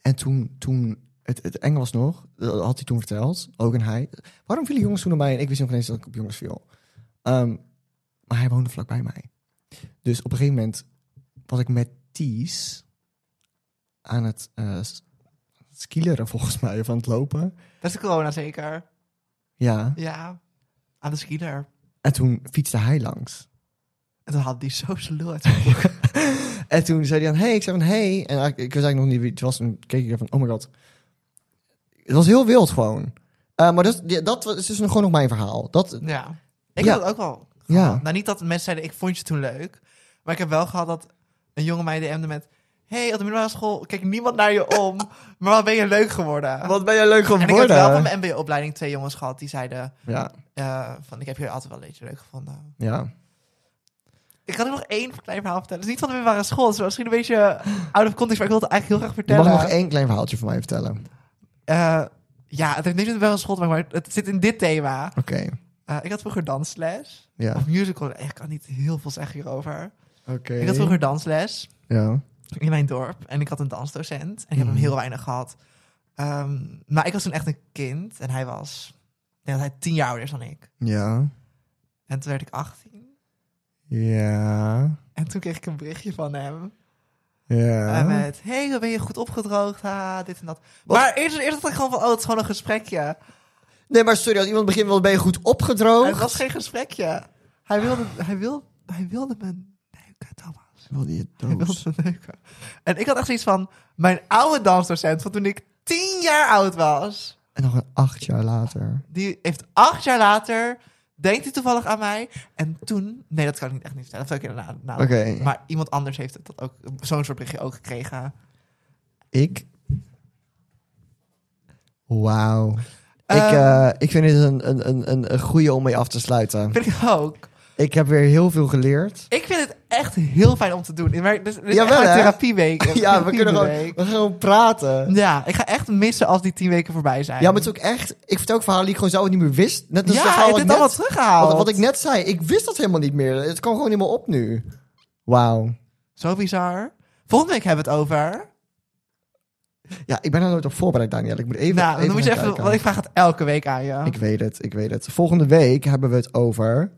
En toen, toen het, het eng was nog, dat had hij toen verteld, ook en hij. Waarom vielen jongens toen op mij en ik wist nog niet eens dat ik op jongens viel? Ehm, maar hij woonde vlakbij mij. Dus op een gegeven moment was ik met Ties aan het eh, s- skileren volgens mij, of aan het lopen. Dat is de corona zeker. Ja. Ja, aan de skier. En toen fietste hij langs. En toen had die zo zijn lul uit zijn broek. En toen zei hij aan, hey, ik zei van, hey. En eigenlijk- ik wist eigenlijk nog niet wie het was. En keek ik er van, oh my god. Het was heel wild gewoon. Eh, maar dat, is- die- dat was- is dus nog gewoon nog mijn verhaal. Dat, Ja. Ik Ja. had het ook wel. Ja. gehad. Nou, niet dat mensen zeiden, ik vond je toen leuk. Maar ik heb wel gehad dat een jongen mij DM'de met... hey, op de middelbare school keek niemand naar je om. maar wat ben je leuk geworden. wat ben jij leuk en geworden. ik heb wel van mijn mbo-opleiding twee jongens gehad die zeiden... Ja, eh, van, ik heb je altijd wel een beetje leuk gevonden. ja. Ik kan er nog één klein verhaal vertellen. Het is niet van de middelbare school. Het is misschien een beetje out of context, maar ik wil het eigenlijk heel graag Je vertellen. mag nog één klein verhaaltje van mij vertellen. Oké. Eh, ja, het heeft niks met wel een school te maken, maar het zit in dit thema. Eh, ik had vroeger dansles. Ja. Of musical. Ik kan niet heel veel zeggen hierover. Oké. Ik had vroeger dansles Ja. in mijn dorp. En ik had een dansdocent. En ik heb hem Mhm. heel weinig gehad. Ehm, maar ik was toen echt een kind. En hij was... Ik denk dat hij tien jaar ouder is dan ik. Ja. En toen werd ik 18. Ja. En toen kreeg ik een berichtje van hem. Ja. Eh, met, hey, hoe ben je goed opgedroogd? Ha, dit en dat. Maar eerst, eerst dacht ik gewoon van, oh, het is gewoon een gesprekje. Nee, maar sorry, als iemand begint, wel ben je goed En Het opgedroogd. was geen gesprekje. Hij wilde, hij wilde, hij wilde me neuken, Thomas. Wilde je Hij wilde me neuken. En ik had echt zoiets van, mijn oude dansdocent van toen ik tien jaar oud was... En nog een acht jaar later. Die heeft acht jaar later, denkt hij toevallig aan mij. En toen, nee, dat kan ik echt niet vertellen. Dat zou ik inderdaad. Nou, Oké. Maar iemand anders heeft dat ook, zo'n soort berichtje ook gekregen. Ik. Wauw. Ehm. ik, eh, ik vind dit een, een, een- een, een goede om mee af te sluiten. Vind ik ook. Ik heb weer heel veel geleerd. Ik vind het echt heel fijn om te doen. Maar dus, dus Jawel, hè? therapieweek. Ja, we kunnen gewoon, we Therapieweek. gaan gewoon praten. Ja, ik ga echt missen als die tien weken voorbij zijn. Ja, maar het is ook echt... Ik vertel ook verhalen die ik gewoon zelf niet meer wist. Net als ja, het verhaal je wat hebt ik dit allemaal net- wat, teruggehaald. wat ik net zei. Ik wist dat helemaal niet meer. Het kwam gewoon niet meer op nu. Wauw. Zo bizar. Volgende week hebben we het over. Ja, ik ben er nooit op voorbereid, Daniel. Ik moet even nou, dan moet je gaan even, kijken. want ik vraag het elke week aan je. Ik weet het, ik weet het. Volgende week hebben we het over...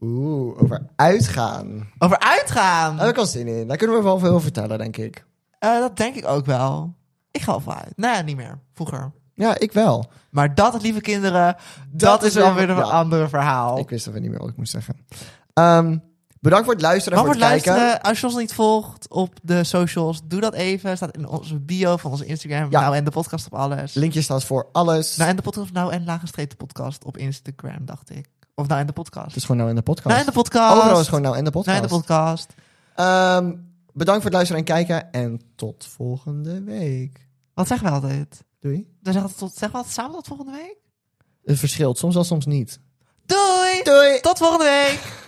Oeh, over uitgaan. Over uitgaan. Daar heb ik al zin in. Daar kunnen we wel veel over vertellen, denk ik. Eh, dat denk ik ook wel. Ik ga al vooruit. Nou ja, niet meer. Vroeger. Ja, ik wel. Maar dat, lieve kinderen, dat, is is wel weer- weer een ja. andere verhaal. Ik wist even niet meer wat ik moest zeggen. Ehm, bedankt voor het luisteren en Maar voor voor het het kijken. luisteren, als je ons niet volgt op de socials, doe dat even. Staat in onze bio van onze Instagram. Ja. Nou en de podcast op alles. Linkje staat voor alles. Nou en de podcast, nou en laagstreep de podcast op Instagram, dacht ik. Of nou en de podcast. het is gewoon nou in de podcast. nou en de podcast. Overal is gewoon nou in de nou podcast. en de podcast. Ehm, bedankt voor het luisteren en kijken. En tot volgende week. Wat zeggen we altijd? Doei. Dan zeggen we, tot, zeggen we altijd samen tot volgende week? Het verschilt soms wel, soms niet. Doei! Doei. Tot volgende week!